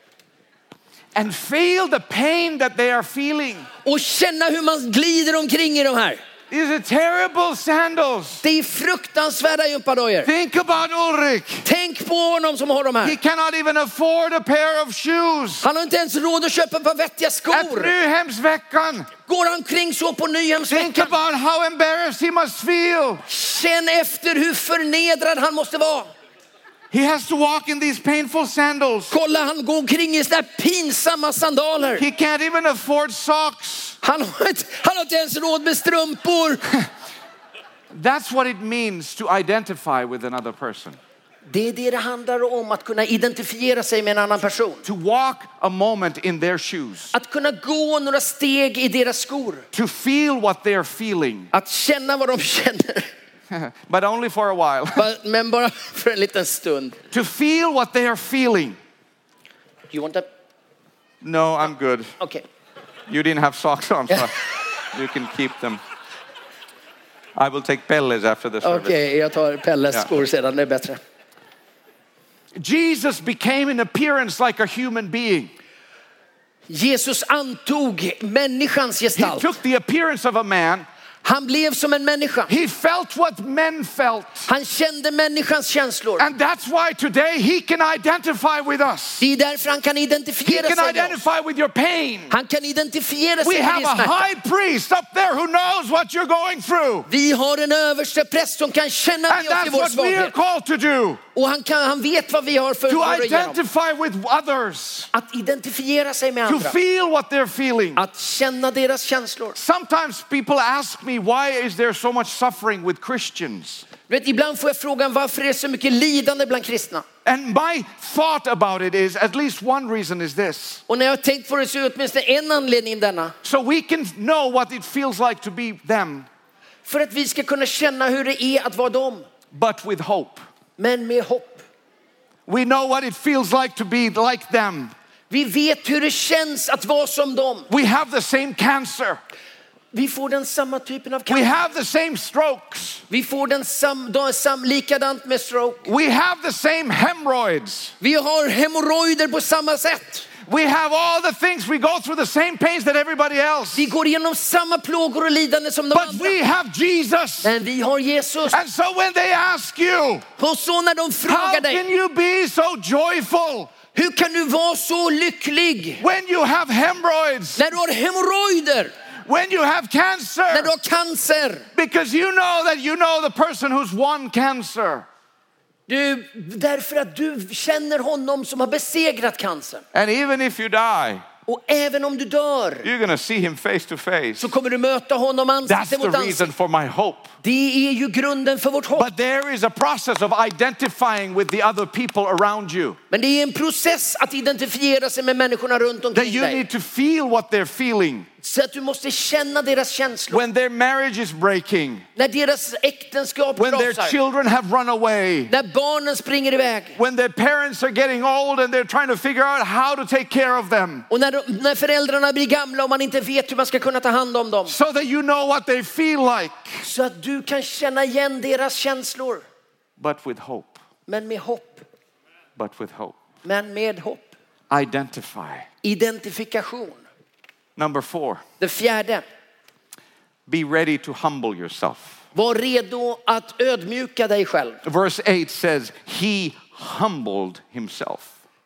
and feel the pain that they are feeling. Och känna hur man glider omkring i de här. These are terrible sandals. Det är fruktansvärda gympadojor. Think about Ulrich. Tänk på honom som har de här. He cannot even afford a pair of shoes. Han har inte ens råd att köpa ett par vettiga At skor. Nyhemsveckan, Går han kring så på think Nyhemsveckan? about how embarrassed he must feel. Känn efter hur förnedrad han måste vara. He has to walk in these painful sandals. Kolla, han går omkring i såna här pinsamma sandaler. He can't even afford socks. Han har, inte, han har inte ens råd med strumpor. That's what it means to identify with another person. Det är det det handlar om, att kunna identifiera sig med en annan person. To walk a moment in their shoes. Att kunna gå några steg i deras skor. To feel what they're feeling, Att känna vad de känner. but only for a while. Ba- Men bara för en liten stund. to feel what they are feeling. You want that? No, I'm good. Okej. You didn't have socks on, so you can keep them. I will take Pelle's after the Okej, service. jag tar Pelles Ja. skor sedan, det är bättre. Jesus became in appearance like a human being. Jesus antog människans He gestalt. took the appearance of a man. Han blev som en människa. He felt what men felt. Han kände människans känslor. And that's why today he can identify with us. Det är därför han kan He identifiera can sig med oss. identify with your pain. Han kan identifiera We sig med have din a smärta. high priest up there who knows what you're going through. Vi har en överste präst som kan känna And med oss i that's vår what we are svaghet. called to do Och han, kan, han vet vad vi har för to vår igenom. identify with others, Att identifiera sig med to andra. feel what they're feeling. Att känna deras känslor. Sometimes people ask me, why is there so much suffering with Christians? Du vet, ibland får jag frågan varför är det så mycket lidande bland kristna? And my thought about it is, at least one reason is this. Och när jag har tänkt på det så är åtminstone en anledning denna. So we can know what it feels like to be them, För att vi ska kunna känna hur det är att vara dem. but with hope. Men med hopp. We know what it feels like to be like them. Vi vet hur det känns att vara som dem. We have the same cancer. Vi får den samma typen av We cancer. have the same strokes. Vi får den sam, då- sam, likadant med stroke. We have the same hemorrhoids. Vi har hemorrojder på samma sätt. We have all the things. We go through the same pains that everybody else. Vi går igenom samma plågor och lidande som de But andra. we have Jesus. Men vi har Jesus. And so when they ask you, Och så när de How frågar can dig, you be so joyful hur kan du vara så lycklig when you have hemorrhoids, när du har hemorrojder? when you have cancer, När du har cancer. because you know that you know the person who's won cancer. Du, därför att du känner honom som har besegrat cancern. And even if you die, Och även om du dör you're going to see him face to face. så kommer du möta honom That's ansikte the mot ansikte. reason for my hope. Det är ju grunden för vårt hopp. But there is a process of identifying with the other people around you. Men det är en process att identifiera sig med människorna runt That omkring you dig. need to feel what they're feeling. Så att du måste känna deras känslor. When their marriage is breaking, När deras äktenskap when their rasar. children have run away, När barnen springer iväg. when their parents are getting old and they're trying to figure out how to take care of them. Och när, de, när föräldrarna blir gamla och man inte vet hur man ska kunna ta hand om dem. So that you know what they feel like, Så att du kan känna igen deras känslor. but with hope. Men med hopp. But with hope. Men med hopp. Identify. Identifikation. Number four, Det fjärde. be ready to humble yourself. Var redo att ödmjuka dig själv. Verse 8 says, He humbled himself.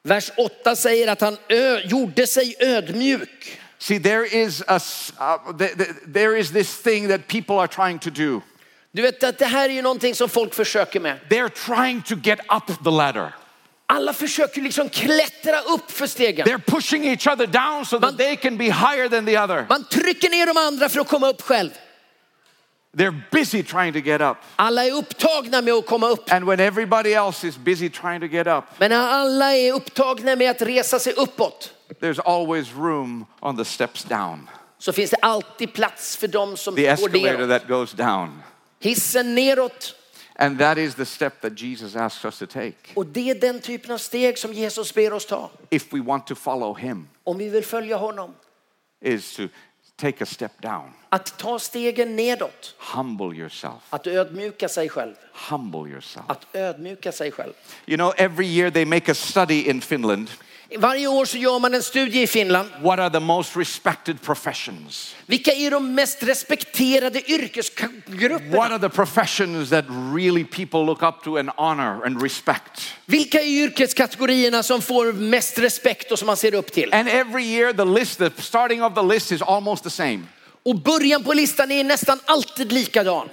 Vers 8 säger att han ö- gjorde sig ödmjuk. See, there is, a, s- uh, th- th- there is this thing that people are trying to do. Du vet att det här är ju någonting som folk försöker med. They're trying to get up the ladder. Alla försöker liksom klättra upp för stegen. They're pushing each other down so that Man- they can be higher than the other. Man trycker ner de andra för att komma upp själv. They're busy trying to get up. Alla är upptagna med att komma upp. And when everybody else is busy trying to get up, Men när alla är upptagna med att resa sig uppåt there's always room on the steps down, så finns det alltid plats för dem som the går escalator neråt. that goes down. Hissen neråt. And that is the step that Jesus asks us to take Och det är den typen av steg som Jesus ber oss ta. if we want to follow him. Om vi vill följa honom. is to take a step down, Att ta stegen nedåt. humble yourself, Att ödmjuka sig själv. humble yourself. Att ödmjuka sig själv. You know, every year they make a study in Finland. Varje år så gör man en studie i Finland. What are the most respected professions? Vilka är de mest respekterade What yrkesgrupperna? are the professions that really people look up to and honor and respect? Vilka är yrkeskategorierna som får mest respekt och som man ser upp till? And every year the list, the starting of the list is almost the same. Och början på listan är nästan alltid likadan.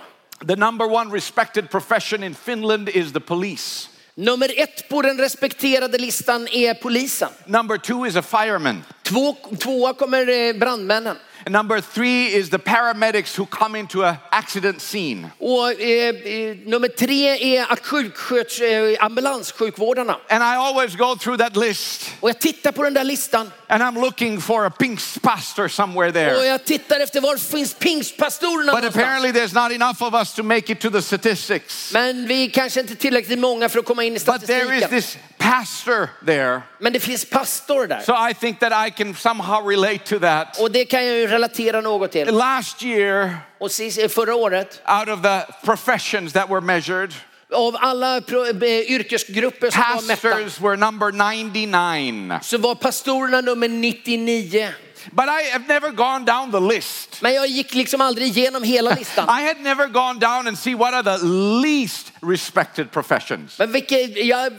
The number one respected profession in Finland is the police. Nummer ett på den respekterade listan är polisen. Number two is a fireman. Två, tvåa kommer eh, brandmännen. And number three is the paramedics who come into an accident scene. Och eh, eh, nummer tre är att sjuksköts, eh, ambulanssjukvårdarna. And I always go through that list Och jag tittar på den där listan and I'm looking for a pink pastor somewhere och there. jag tittar efter var finns pingstpastorerna But någonstans? apparently, there's not enough of us to make it to the statistics. Men vi är kanske inte tillräckligt många för att komma in i But there is statistiken. this pastor there. Men det finns pastor där. So I think that I can somehow relate to that. Och det kan jag ju relatera något till. Last year, Och sist, eh, förra året, out of the professions that were measured, av alla pro- eh, yrkesgrupper som var mätta pastors were number 99. så var pastorerna nummer 99. But I have never gone down the list. Men jag gick liksom aldrig igenom hela listan. I had never gone down and see what are the least respected professions. Men vilka, jag,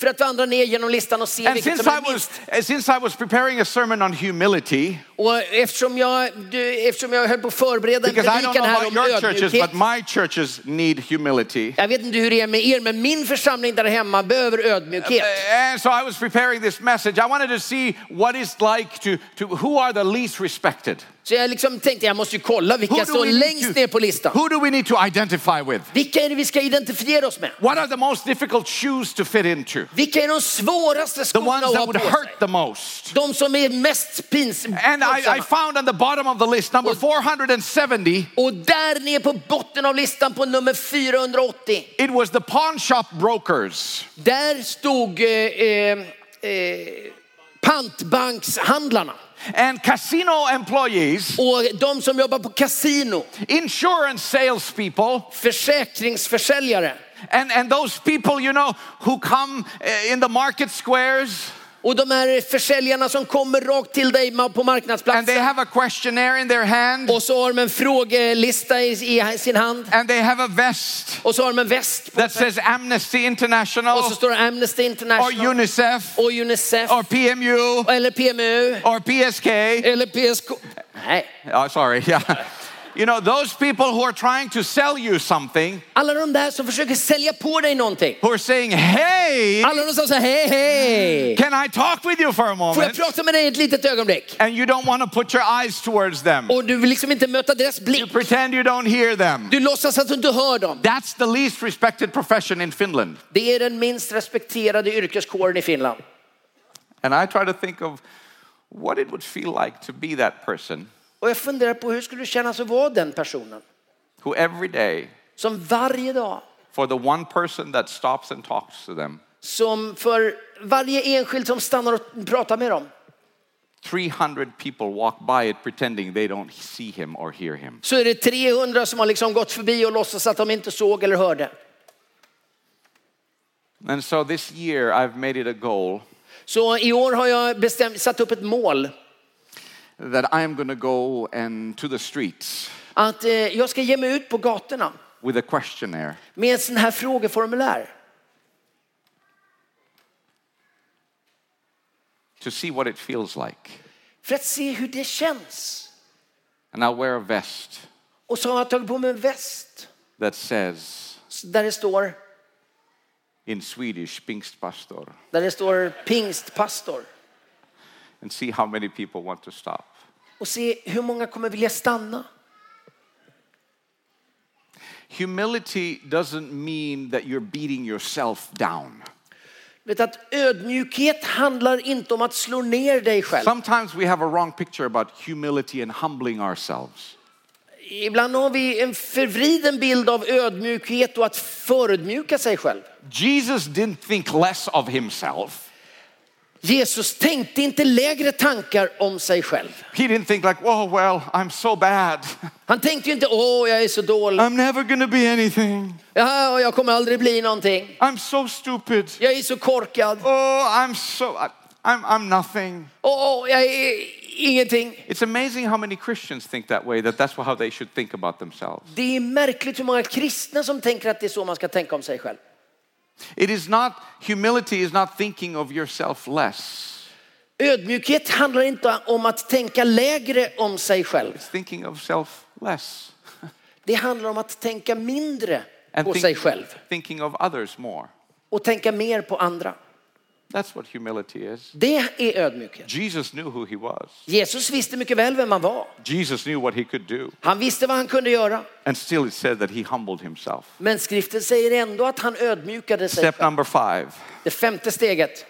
för att vandra ner genom listan och se And vilket since som I är minst. was and since I was preparing a sermon on humility, Och eftersom jag, du, eftersom jag höll på att förbereda en because I don't know predikan här about om your churches, ödmjukhet. but my churches need humility. Jag vet inte hur det är med er, men min församling där hemma behöver ödmjukhet. Äh, And so I was preparing this message. I wanted to see what it's like to, to who are the least respected. Så jag liksom tänkte jag måste ju kolla vilka Who do, står we längst ner need på to, listan. who do we need to identify with? Vilka är det vi ska identifiera oss med? What are the most difficult shoes to fit into? Vilka är de svåraste The skorna ones att that ha would på sig? hurt the most. De som är mest pins. And I, I pinsamma. found on the bottom of the list, number 470, Och där nere på botten av listan på nummer 480, it was the pawn shop brokers. där stod eh, eh, eh, pantbankshandlarna. And casino employees, Och de som jobbar på kasino, insurance salespeople, försäkringsförsäljare. and, and those people, you know, who come eh, in the market squares Och de här försäljarna som kommer rakt till dig ma- på and they marknadsplatsen. have a questionnaire in their hand Och så har de en frågelista i, i sin hand. and they have a vest Och så har de en väst på that sig. says Amnesty Och så International står det Amnesty or International. UNICEF och Unicef. or PMU Eller PMU. or PSK. Eller PSK. Nej. Oh, sorry, yeah. You know, those people who are trying to sell you something, Alla de där som försöker sälja på dig någonting. who are saying, hey, Alla de som säger hej, hej. can I talk with you for a Får jag moment? prata med dig ett litet ögonblick? And you don't want to put your eyes towards them. Och du vill liksom inte möta deras You blick. pretend you don't hear them. Du låtsas att du inte hör dem. That's the least respected profession in Finland. Det är den minst respekterade yrkeskåren i Finland. And I try to think of what it would feel like to be that person Och jag funderar på hur skulle det kännas att vara den personen? who every day, Som varje dag, for the one person that stops and talks to them, som för varje enskild som stannar och pratar med dem, 300 people walk by it pretending they don't see him or hear him. så är det 300 som har liksom gått förbi och låtsas att de inte såg eller hörde. And so this year, I've made it a goal Så i år har jag bestämt, satt upp ett mål that I am going to go and to the streets att eh, jag ska ge mig ut på gatorna with a questionnaire. med ett sån här frågeformulär to see what it feels like. för att se hur det känns. And I'll wear a vest Och så har jag tagit på mig en väst that says där det står, in Swedish, Pingstpastor, där det står pingstpastor and see how many people want to stop. och se hur många kommer vilja stanna. Humility doesn't mean that you're beating yourself down. Vet du att ödmjukhet handlar inte om att slå ner dig själv. Sometimes we have a wrong picture about humility and humbling ourselves. Ibland har vi en förvriden bild av ödmjukhet och att förödmjuka sig själv. Jesus didn't think less of himself. Jesus tänkte inte lägre tankar om sig själv. He didn't think like, oh, well, I'm so bad. Han tänkte ju inte, åh jag är så dålig, I'm never going to be anything. ja, och jag kommer aldrig bli någonting, I'm so stupid. jag är så korkad, Oh, I'm so, I, I'm, I'm nothing. åh jag är ingenting. It's amazing how many Christians think that way, that that's how they should think about themselves. Det är märkligt hur många kristna som tänker att det är så man ska tänka om sig själv. It is not, humility is not thinking of yourself less, Ödmjukhet handlar inte om att tänka lägre om sig själv. it's thinking of self less Det handlar om att tänka mindre and på think- sig själv thinking of others more. och tänka mer på andra. That's what humility is. Det är ödmjukhet. Jesus knew who he was, Jesus visste mycket väl vem han var. Jesus knew what he could do, Han visste vad han kunde göra. and still it said that he humbled himself. Men skriften säger ändå att han ödmjukade sig. Step number five, Det femte steget.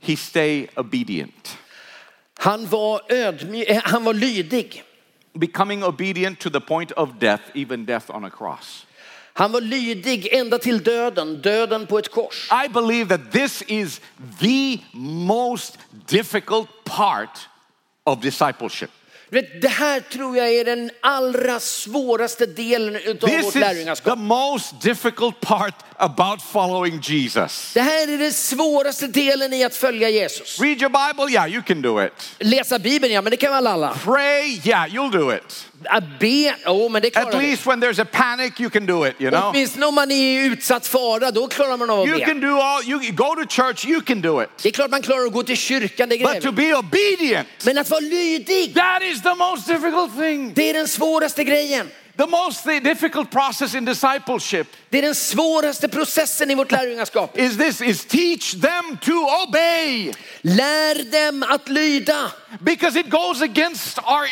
he stay obedient. Han var, ödmjuk, eh, han var lydig. Becoming obedient to the point of death, even death on a cross. Han var lydig ända till döden, döden på ett kors. I believe that this is the most difficult part of discipleship. Du vet, Det här tror jag är den allra svåraste delen utav This vårt is lärjungaskap. the most difficult part about following Jesus. Det här är den svåraste delen i att följa Jesus. Read your Bible? Yeah, you can do it. Läsa Bibeln, ja men det kan väl alla. Pray? Yeah, you'll do it. Att be, jo men det At klarar vi. least when there's a panic, you can do it, you know? Åtminstone om man är i utsatt fara, då klarar man av att You be. can do all, you go to church, you can do it. Det är klart man klarar att gå till kyrkan, det But to grejer be obedient, Men att vara lydig, that is the most difficult thing. det är den svåraste grejen. The most difficult process in discipleship Det är den svåraste processen i vårt lärjungaskap. is this is teach them to obey. Lär dem att lyda. Because it goes against our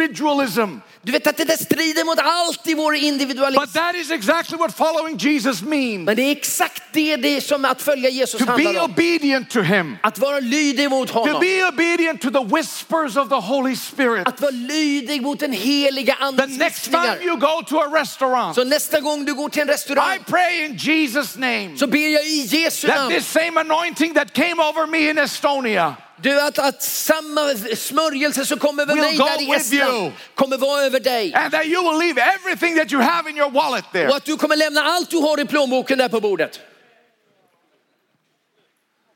individualism. Du vet att det där strider mot allt i vår individualism. But that is exactly what following Jesus means Men det är exakt det, det som att följa Jesus to be handlar om. obedient to Him, Att vara lydig mot to honom. be obedient to the whispers of the Holy Spirit. Att vara lydig mot den heliga The andens next viskningar. time you go to a restaurant, Så nästa gång du går till en I restaurang pray in Jesus' name så ber jag i Jesu that namn this same anointing that came over me in Estonia du, att, att samma smörjelse som kommer över Will mig go där i with you. Estland kommer vara över dig. and that you will leave everything that you have in your wallet there. Och att du kommer lämna allt du har i plånboken där på bordet.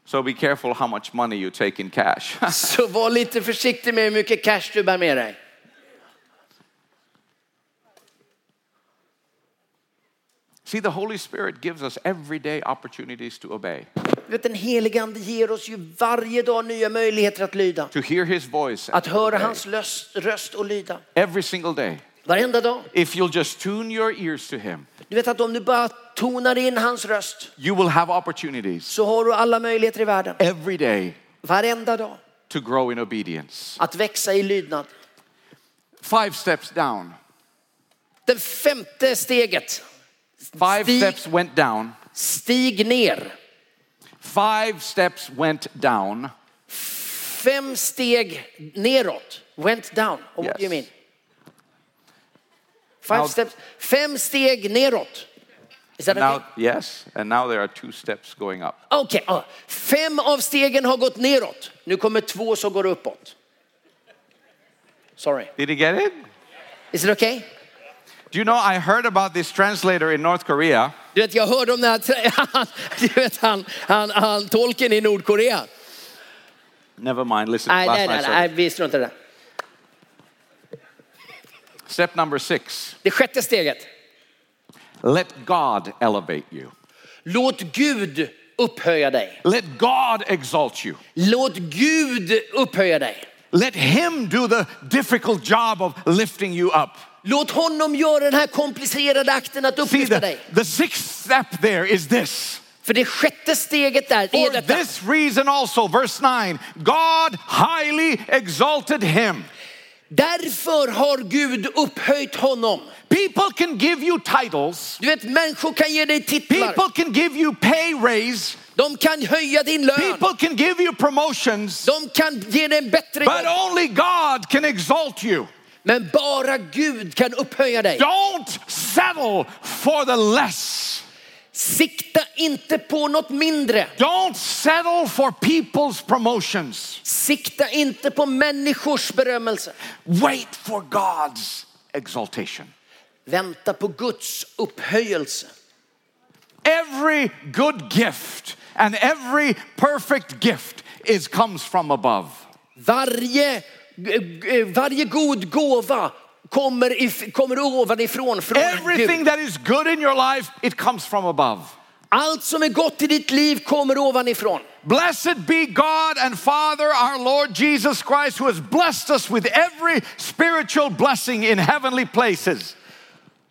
So be careful how much money you take in cash. Så var lite försiktig med hur mycket cash du bär med dig. See, the Holy Spirit gives us everyday opportunities to obey. Vet, den helige Ande ger oss ju varje dag nya möjligheter att lyda. to hear His voice Att höra hans löst, röst och lyda. every single day. Varenda dag. If you'll just tune your ears to Him, Du vet att om du bara tonar in hans röst you will have opportunities så har du alla möjligheter i världen. every day Varenda dag. to grow in obedience. Att växa i lydnad. Five steps down. Det femte steget. Five Stig- steps went down. Stig ner. Five steps went down. Fem steg neråt. Went down. Oh, What do you mean? Yes. Five Now- steps. Fem steg neråt. Is that okay? Now, yes, and now there are two steps going up. Okej, ja. fem av stegen har gått neråt. Nu kommer två som går uppåt. Sorry. Did you get it? Is it okay? Do you know I heard about this translator in North Korea? Du vet, jag hörde om den här, trä- han, du vet, han, han, han tolken i Nordkorea. Never mind, listen to Nej, last nej, nej, night's nej, service. vi struntar i det. Step number six Det sjätte steget. let God elevate you, Låt Gud upphöja dig. let God exalt you. Låt Gud upphöja dig. Let Him do the difficult job of lifting you up. Låt honom göra den här komplicerade akten att See, upplyfta the, dig. the sixth step there is this. För det sjätte steget där, det är For detta. this reason also, verse 9, God highly exalted him. Därför har Gud upphöjt honom. People can give you titles, Du vet, människor kan ge dig titlar. people can give you pay raise, De kan höja din lön. people can give you promotions, De kan ge dig en bättre but jobb. only God can exalt you. Men bara Gud kan upphöja dig. Don't settle for the less. Sikta inte på något mindre. Don't settle for people's promotions. Sikta inte på människors berömmelse. Wait for God's exaltation. Vänta på Guds upphöjelse. Every good gift and every perfect gift is comes from above. Varje, g- g- varje god gåva kommer, if, kommer ovanifrån från Everything Gud. that is good in your life, it comes from above. Allt som är gott i ditt liv kommer ovanifrån. Blessed be God and Father, our Lord Jesus Christ, who has blessed us with every spiritual blessing in heavenly places.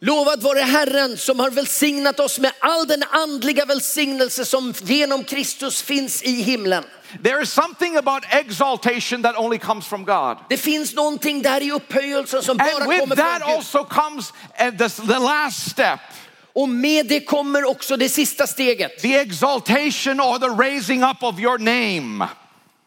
Lovad vare Herren som har välsignat oss med all den andliga välsignelse som genom Kristus finns i himlen. There is something about exaltation that only comes from God. Det finns någonting där i upphöjelsen som bara And with kommer that från Gud. also comes uh, the, the last step Och med det kommer också det sista steget. the exaltation or the raising up of your name.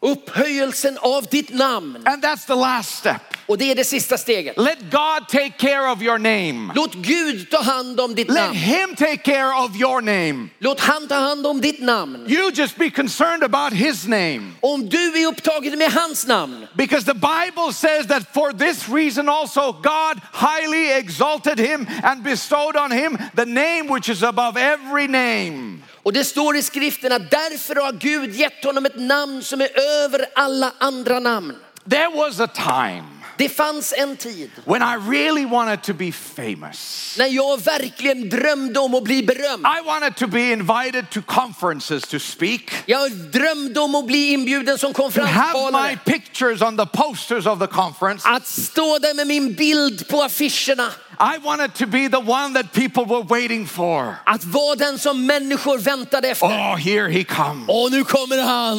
Upphöjelsen av ditt namn. And that's the last step. Och det är det sista steget. Let God take care of your name. Låt Gud ta hand om ditt Let namn. Him take care of your name. Låt han ta hand om ditt namn. You just be concerned about His name. Om du är upptagen med hans namn. Because the Bible says that for this reason also God highly exalted him and bestowed on him the name which is above every name. Och det står i skriften att därför har Gud gett honom ett namn som är över alla andra namn. There was a time Det fanns en tid when I really wanted to be famous. när jag verkligen drömde om att bli berömd. I wanted to be invited to conferences to speak, Jag drömde om att bli inbjuden som to have my konferenstalare. pictures on the posters of the conference. Att stå där med min bild på affischerna. I wanted to be the one that people were waiting for. Att vara den som människor väntade efter. Oh, here he comes. Och nu kommer han!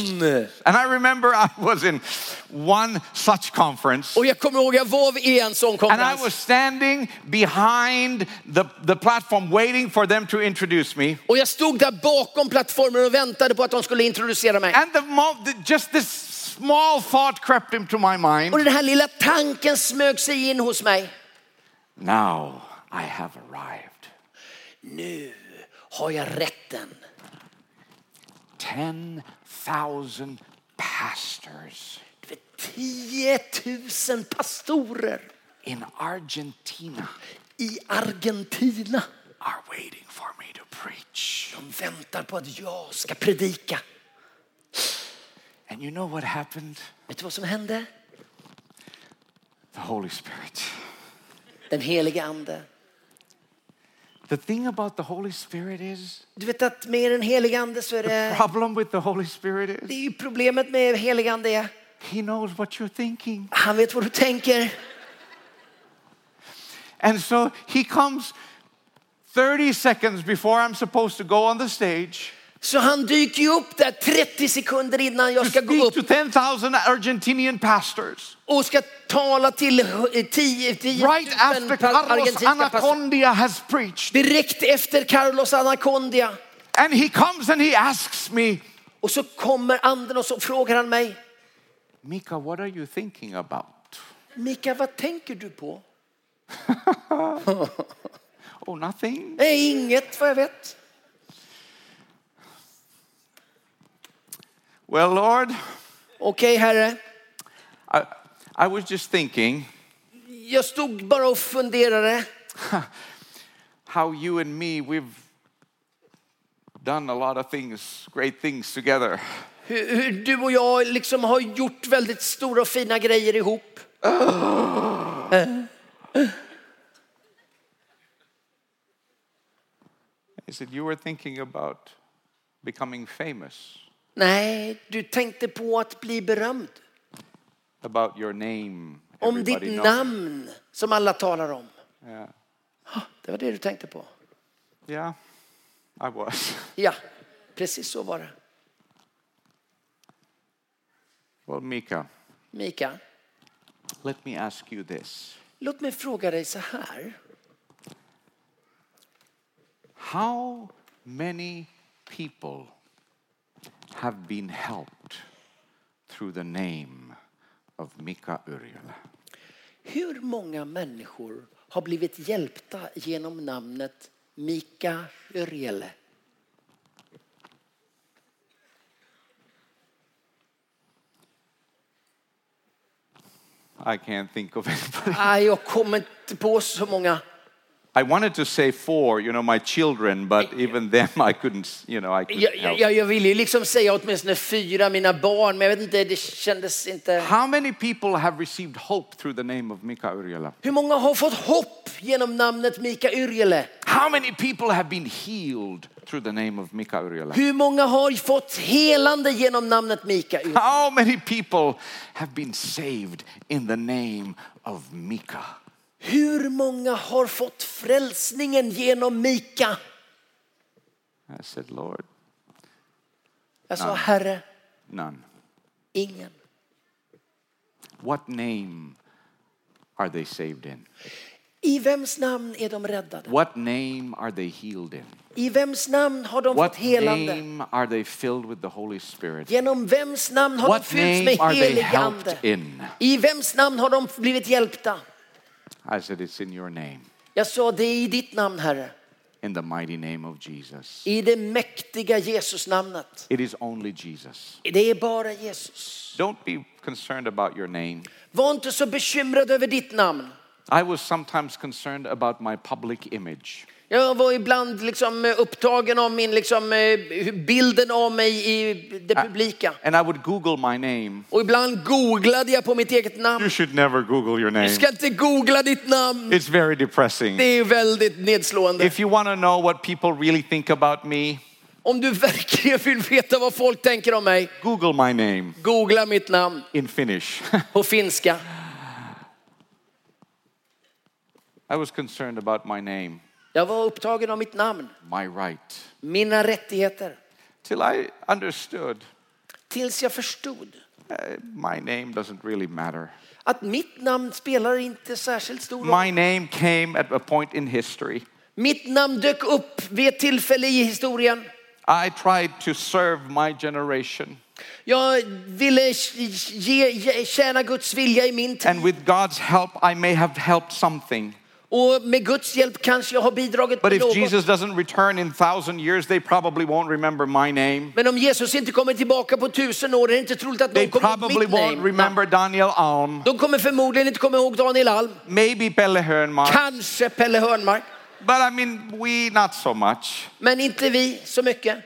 And I remember I was in one such conference. Och jag kommer ihåg, jag var i en sån And I konferens. was standing behind the, the platform waiting for them to introduce me. Och jag stod där bakom plattformen och väntade på att de skulle introducera mig. And the, mo- the just this small thought crept into my Och mind. den här lilla tanken smög sig in hos mig. Now I have arrived. Nu har jag rätten. 10,000 pastors Du vet, 10 000 pastorer in Argentina i Argentina. are waiting for me to preach. De väntar på att jag ska predika. And you know what happened? Vet du vad som hände? The Holy Spirit Den helige ande The thing about the Holy Spirit is, Du vet att med den helige ande så är the det, problem with the Holig Spirit det is, är ju problemet med helig ande är, He knows what you're thinking. han vet vad du tänker. And so He comes 30 seconds before I'm supposed to go on the stage Så han dyker ju upp där 30 sekunder innan jag to ska gå speak to upp 10,000 Argentinian pastors. och ska tala till eh, hu- 10 10 Right 000 after Carlos argentinska pastorer. Anacondia has preached. Direkt efter Carlos Anacondia. And He comes and He asks me, Och så kommer anden och så frågar han mig, Mika, what are you thinking about? Mika vad tänker du på? Oh, nothing. Nej, inget vad jag vet. Well, Lord, Okej herre, I, I was just thinking jag stod bara och funderade. how you and me, we've done a lot of things, great things together. Hur, hur du och jag liksom har gjort väldigt stora och fina grejer ihop. He said, You were thinking about becoming famous, Nej, du tänkte på att bli berömd. about your name. Om ditt Everybody knows. namn som alla talar om. "Ah, Yeah. Det var det du tänkte på. yeah, I was. Ja, precis så var det. Well, Mika, Mika, let me ask you this låt mig fråga dig så här. How many people have been helped through the name of Mika Uriel? Hur många människor har blivit hjälpta genom namnet Mika Yrjele? I can't think of anybody. Ah, jag kommer inte på så många. I wanted to say four, you know, my children, but even them I couldn't, you know, I couldn't Jag, help. jag, jag ville ju liksom säga åtminstone fyra, mina barn, men jag vet inte, det kändes inte... How many people have received hope through the name of Mika Uriela? Hur många har fått hopp genom namnet Mika Yrjele? How many people have been healed through the name of Mika Uriela? Hur många har fått helande genom namnet Mika Yrjele? How many people have been saved in the name of Mika? Hur många har fått frälsningen genom Mika? I said, Lord, Jag sa, Herre, none. ingen. What name are they saved in? I vems namn är de räddade? What name are they healed in? I vems namn har de What fått helande? name are they filled with the Holy Spirit? Genom vems namn har de What fyllts name med are they helig helped ande? in? I vems namn har de blivit hjälpta? I said, It's in your name, Jag sa, det är i ditt namn, Herre. in the mighty name of Jesus. I det mäktiga Jesusnamnet. It is only Jesus. Det är bara Jesus. Don't be concerned about your name. Var inte så bekymrad över ditt namn. I was sometimes concerned about my public image. Jag var ibland liksom eh, upptagen av min, liksom, eh, hur- bilden av mig i det publika. And I would Google my name. Och ibland googlade jag på mitt eget namn. You should never Google your Du name, ska inte googla ditt namn. it's very Det depressing. är väldigt nedslående. If you want to know what people really think about me, Om du verkligen vill veta vad folk tänker om mig, Google my name googla mitt namn in Finnish. på finska. I was concerned about my name, Jag var upptagen av mitt namn, my right, mina rättigheter. till I understood Tills jag förstod eh, my name doesn't really matter. att mitt namn spelar inte särskilt stor roll. My name came at a point in history. Mitt namn dök upp vid ett tillfälle i historien. I tried to serve my generation, Jag ville ge, ge, tjäna Guds vilja i min tid. and with God's help, I may have helped something. Och med Guds hjälp kanske jag har bidragit But med if något. Jesus doesn't return in thousand years, they probably won't remember my name. Men om Jesus inte kommer tillbaka på tusen år är det inte troligt att They någon kommer ihåg probably mitt won't namn. remember Daniel Alm, De kommer förmodligen inte komma ihåg Daniel Alm. maybe Pelle Hörnmark, Kanske Pelle Hörnmark. but I mean, we not so much. Men inte vi så mycket.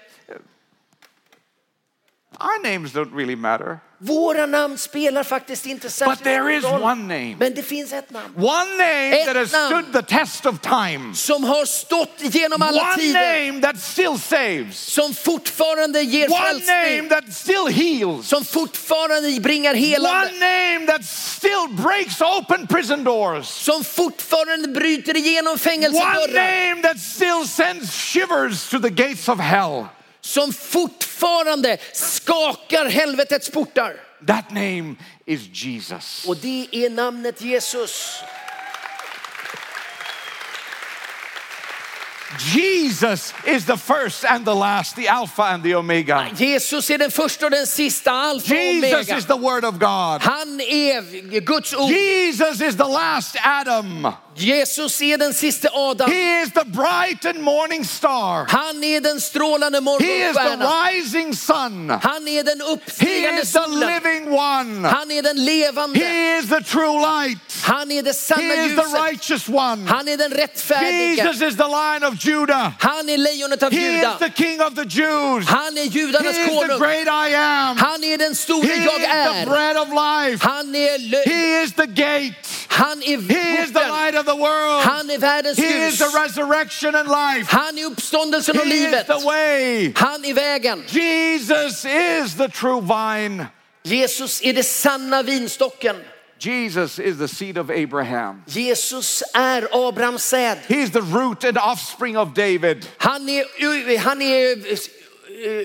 Our names don't really matter. Våra namn spelar faktiskt inte But särskilt there stor is roll. one name. Men det finns ett namn One name Ett that has namn. stood the test of time. som har stått genom alla One tider. name that still saves. Som fortfarande ger One name frälsning. that still heals. Som fortfarande bringar helande. One name that still breaks open prison doors. Som fortfarande bryter igenom One fängelsedörrar. name that still sends shivers to the gates of hell. Som fortfarande skakar helvetets portar. That name is Jesus. Och det är namnet Jesus. Jesus is the first and the last, the Alpha and the Omega. Jesus är den första och den sista, alfa och Jesus omega. is the Word of God. Han är Guds ord. Jesus is the last Adam. Jesus är den sista Adam. He is the bright and morning star. Han är den strålande He is the morgonstjärnan. rising sun. Han är den He uppstigande is the solen. living one. Han är den levande. He is the true light. Han är det He sanna is the ljuset. righteous one. Han är den rättfärdige. Jesus is the lion of Judah. Han är lejonet av He is the Juda. king of the Jews. Han är He judarnas is the konung. great I am. Han är den He store jag is the är. bread of life. Han är lö- He is the gate. Han är He is the porten. light of the world. Han är världens He is ljus. the resurrection and life. Han är uppståndelsen och He is livet. the way. Han är vägen. Jesus is the true vine. Jesus är det sanna vinstocken. Jesus is the seed of Abraham. Jesus är Abrahams säd. He is the root and offspring of David. Han är, han är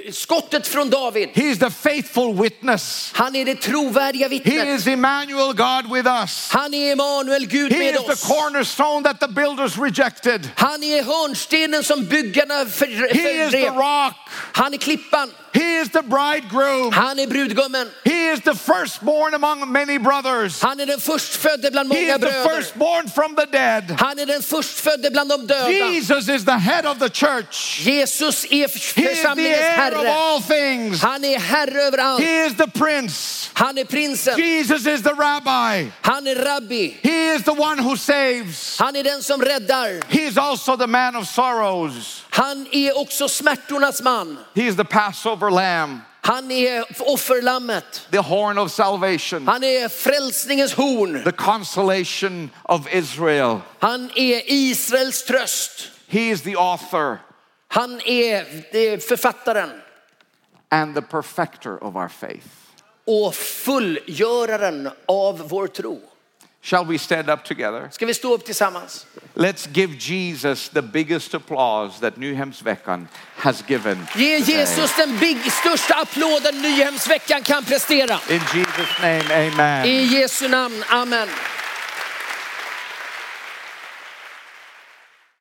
eh, skottet från David. He is the faithful witness. Han är det trovärdiga He vittnet. is Emmanuel, God with us. Han är Emanuel, Gud He med is the oss. cornerstone that the builders rejected. Han är hörnstenen som byggarna för- He is the fördrev. rock. Han är klippan. He is the bridegroom. Han är brudgummen. He is the firstborn among many brothers. Han är den förstfödde bland He många is the bröder. firstborn from the dead. Han är den förstfödde bland de döda. Jesus is the head of the church. Jesus är He is the församlingens heir of herre. all things. Han är herre över allt. He is the prince. Han är prinsen. Jesus is the rabbi. Han är rabbi. He is the one who saves. Han är den som räddar. He is also the man of sorrows. Han är också smärtornas man. He is the Passover lamb, Han är offerlammet. the horn of salvation, Han är frälsningens horn. the consolation of Israel. Han är Israels tröst. He is the author Han är eh, författaren and the perfecter of our faith. och fullgöraren av vår tro. Shall we stand up together? Ska vi stå upp tillsammans? Let's give Jesus the biggest applause that Nyhemsveckan has given. Ge today. Jesus den big, största applåden Nyhemsveckan kan prestera. In Jesus' name, amen. I Jesu namn, amen.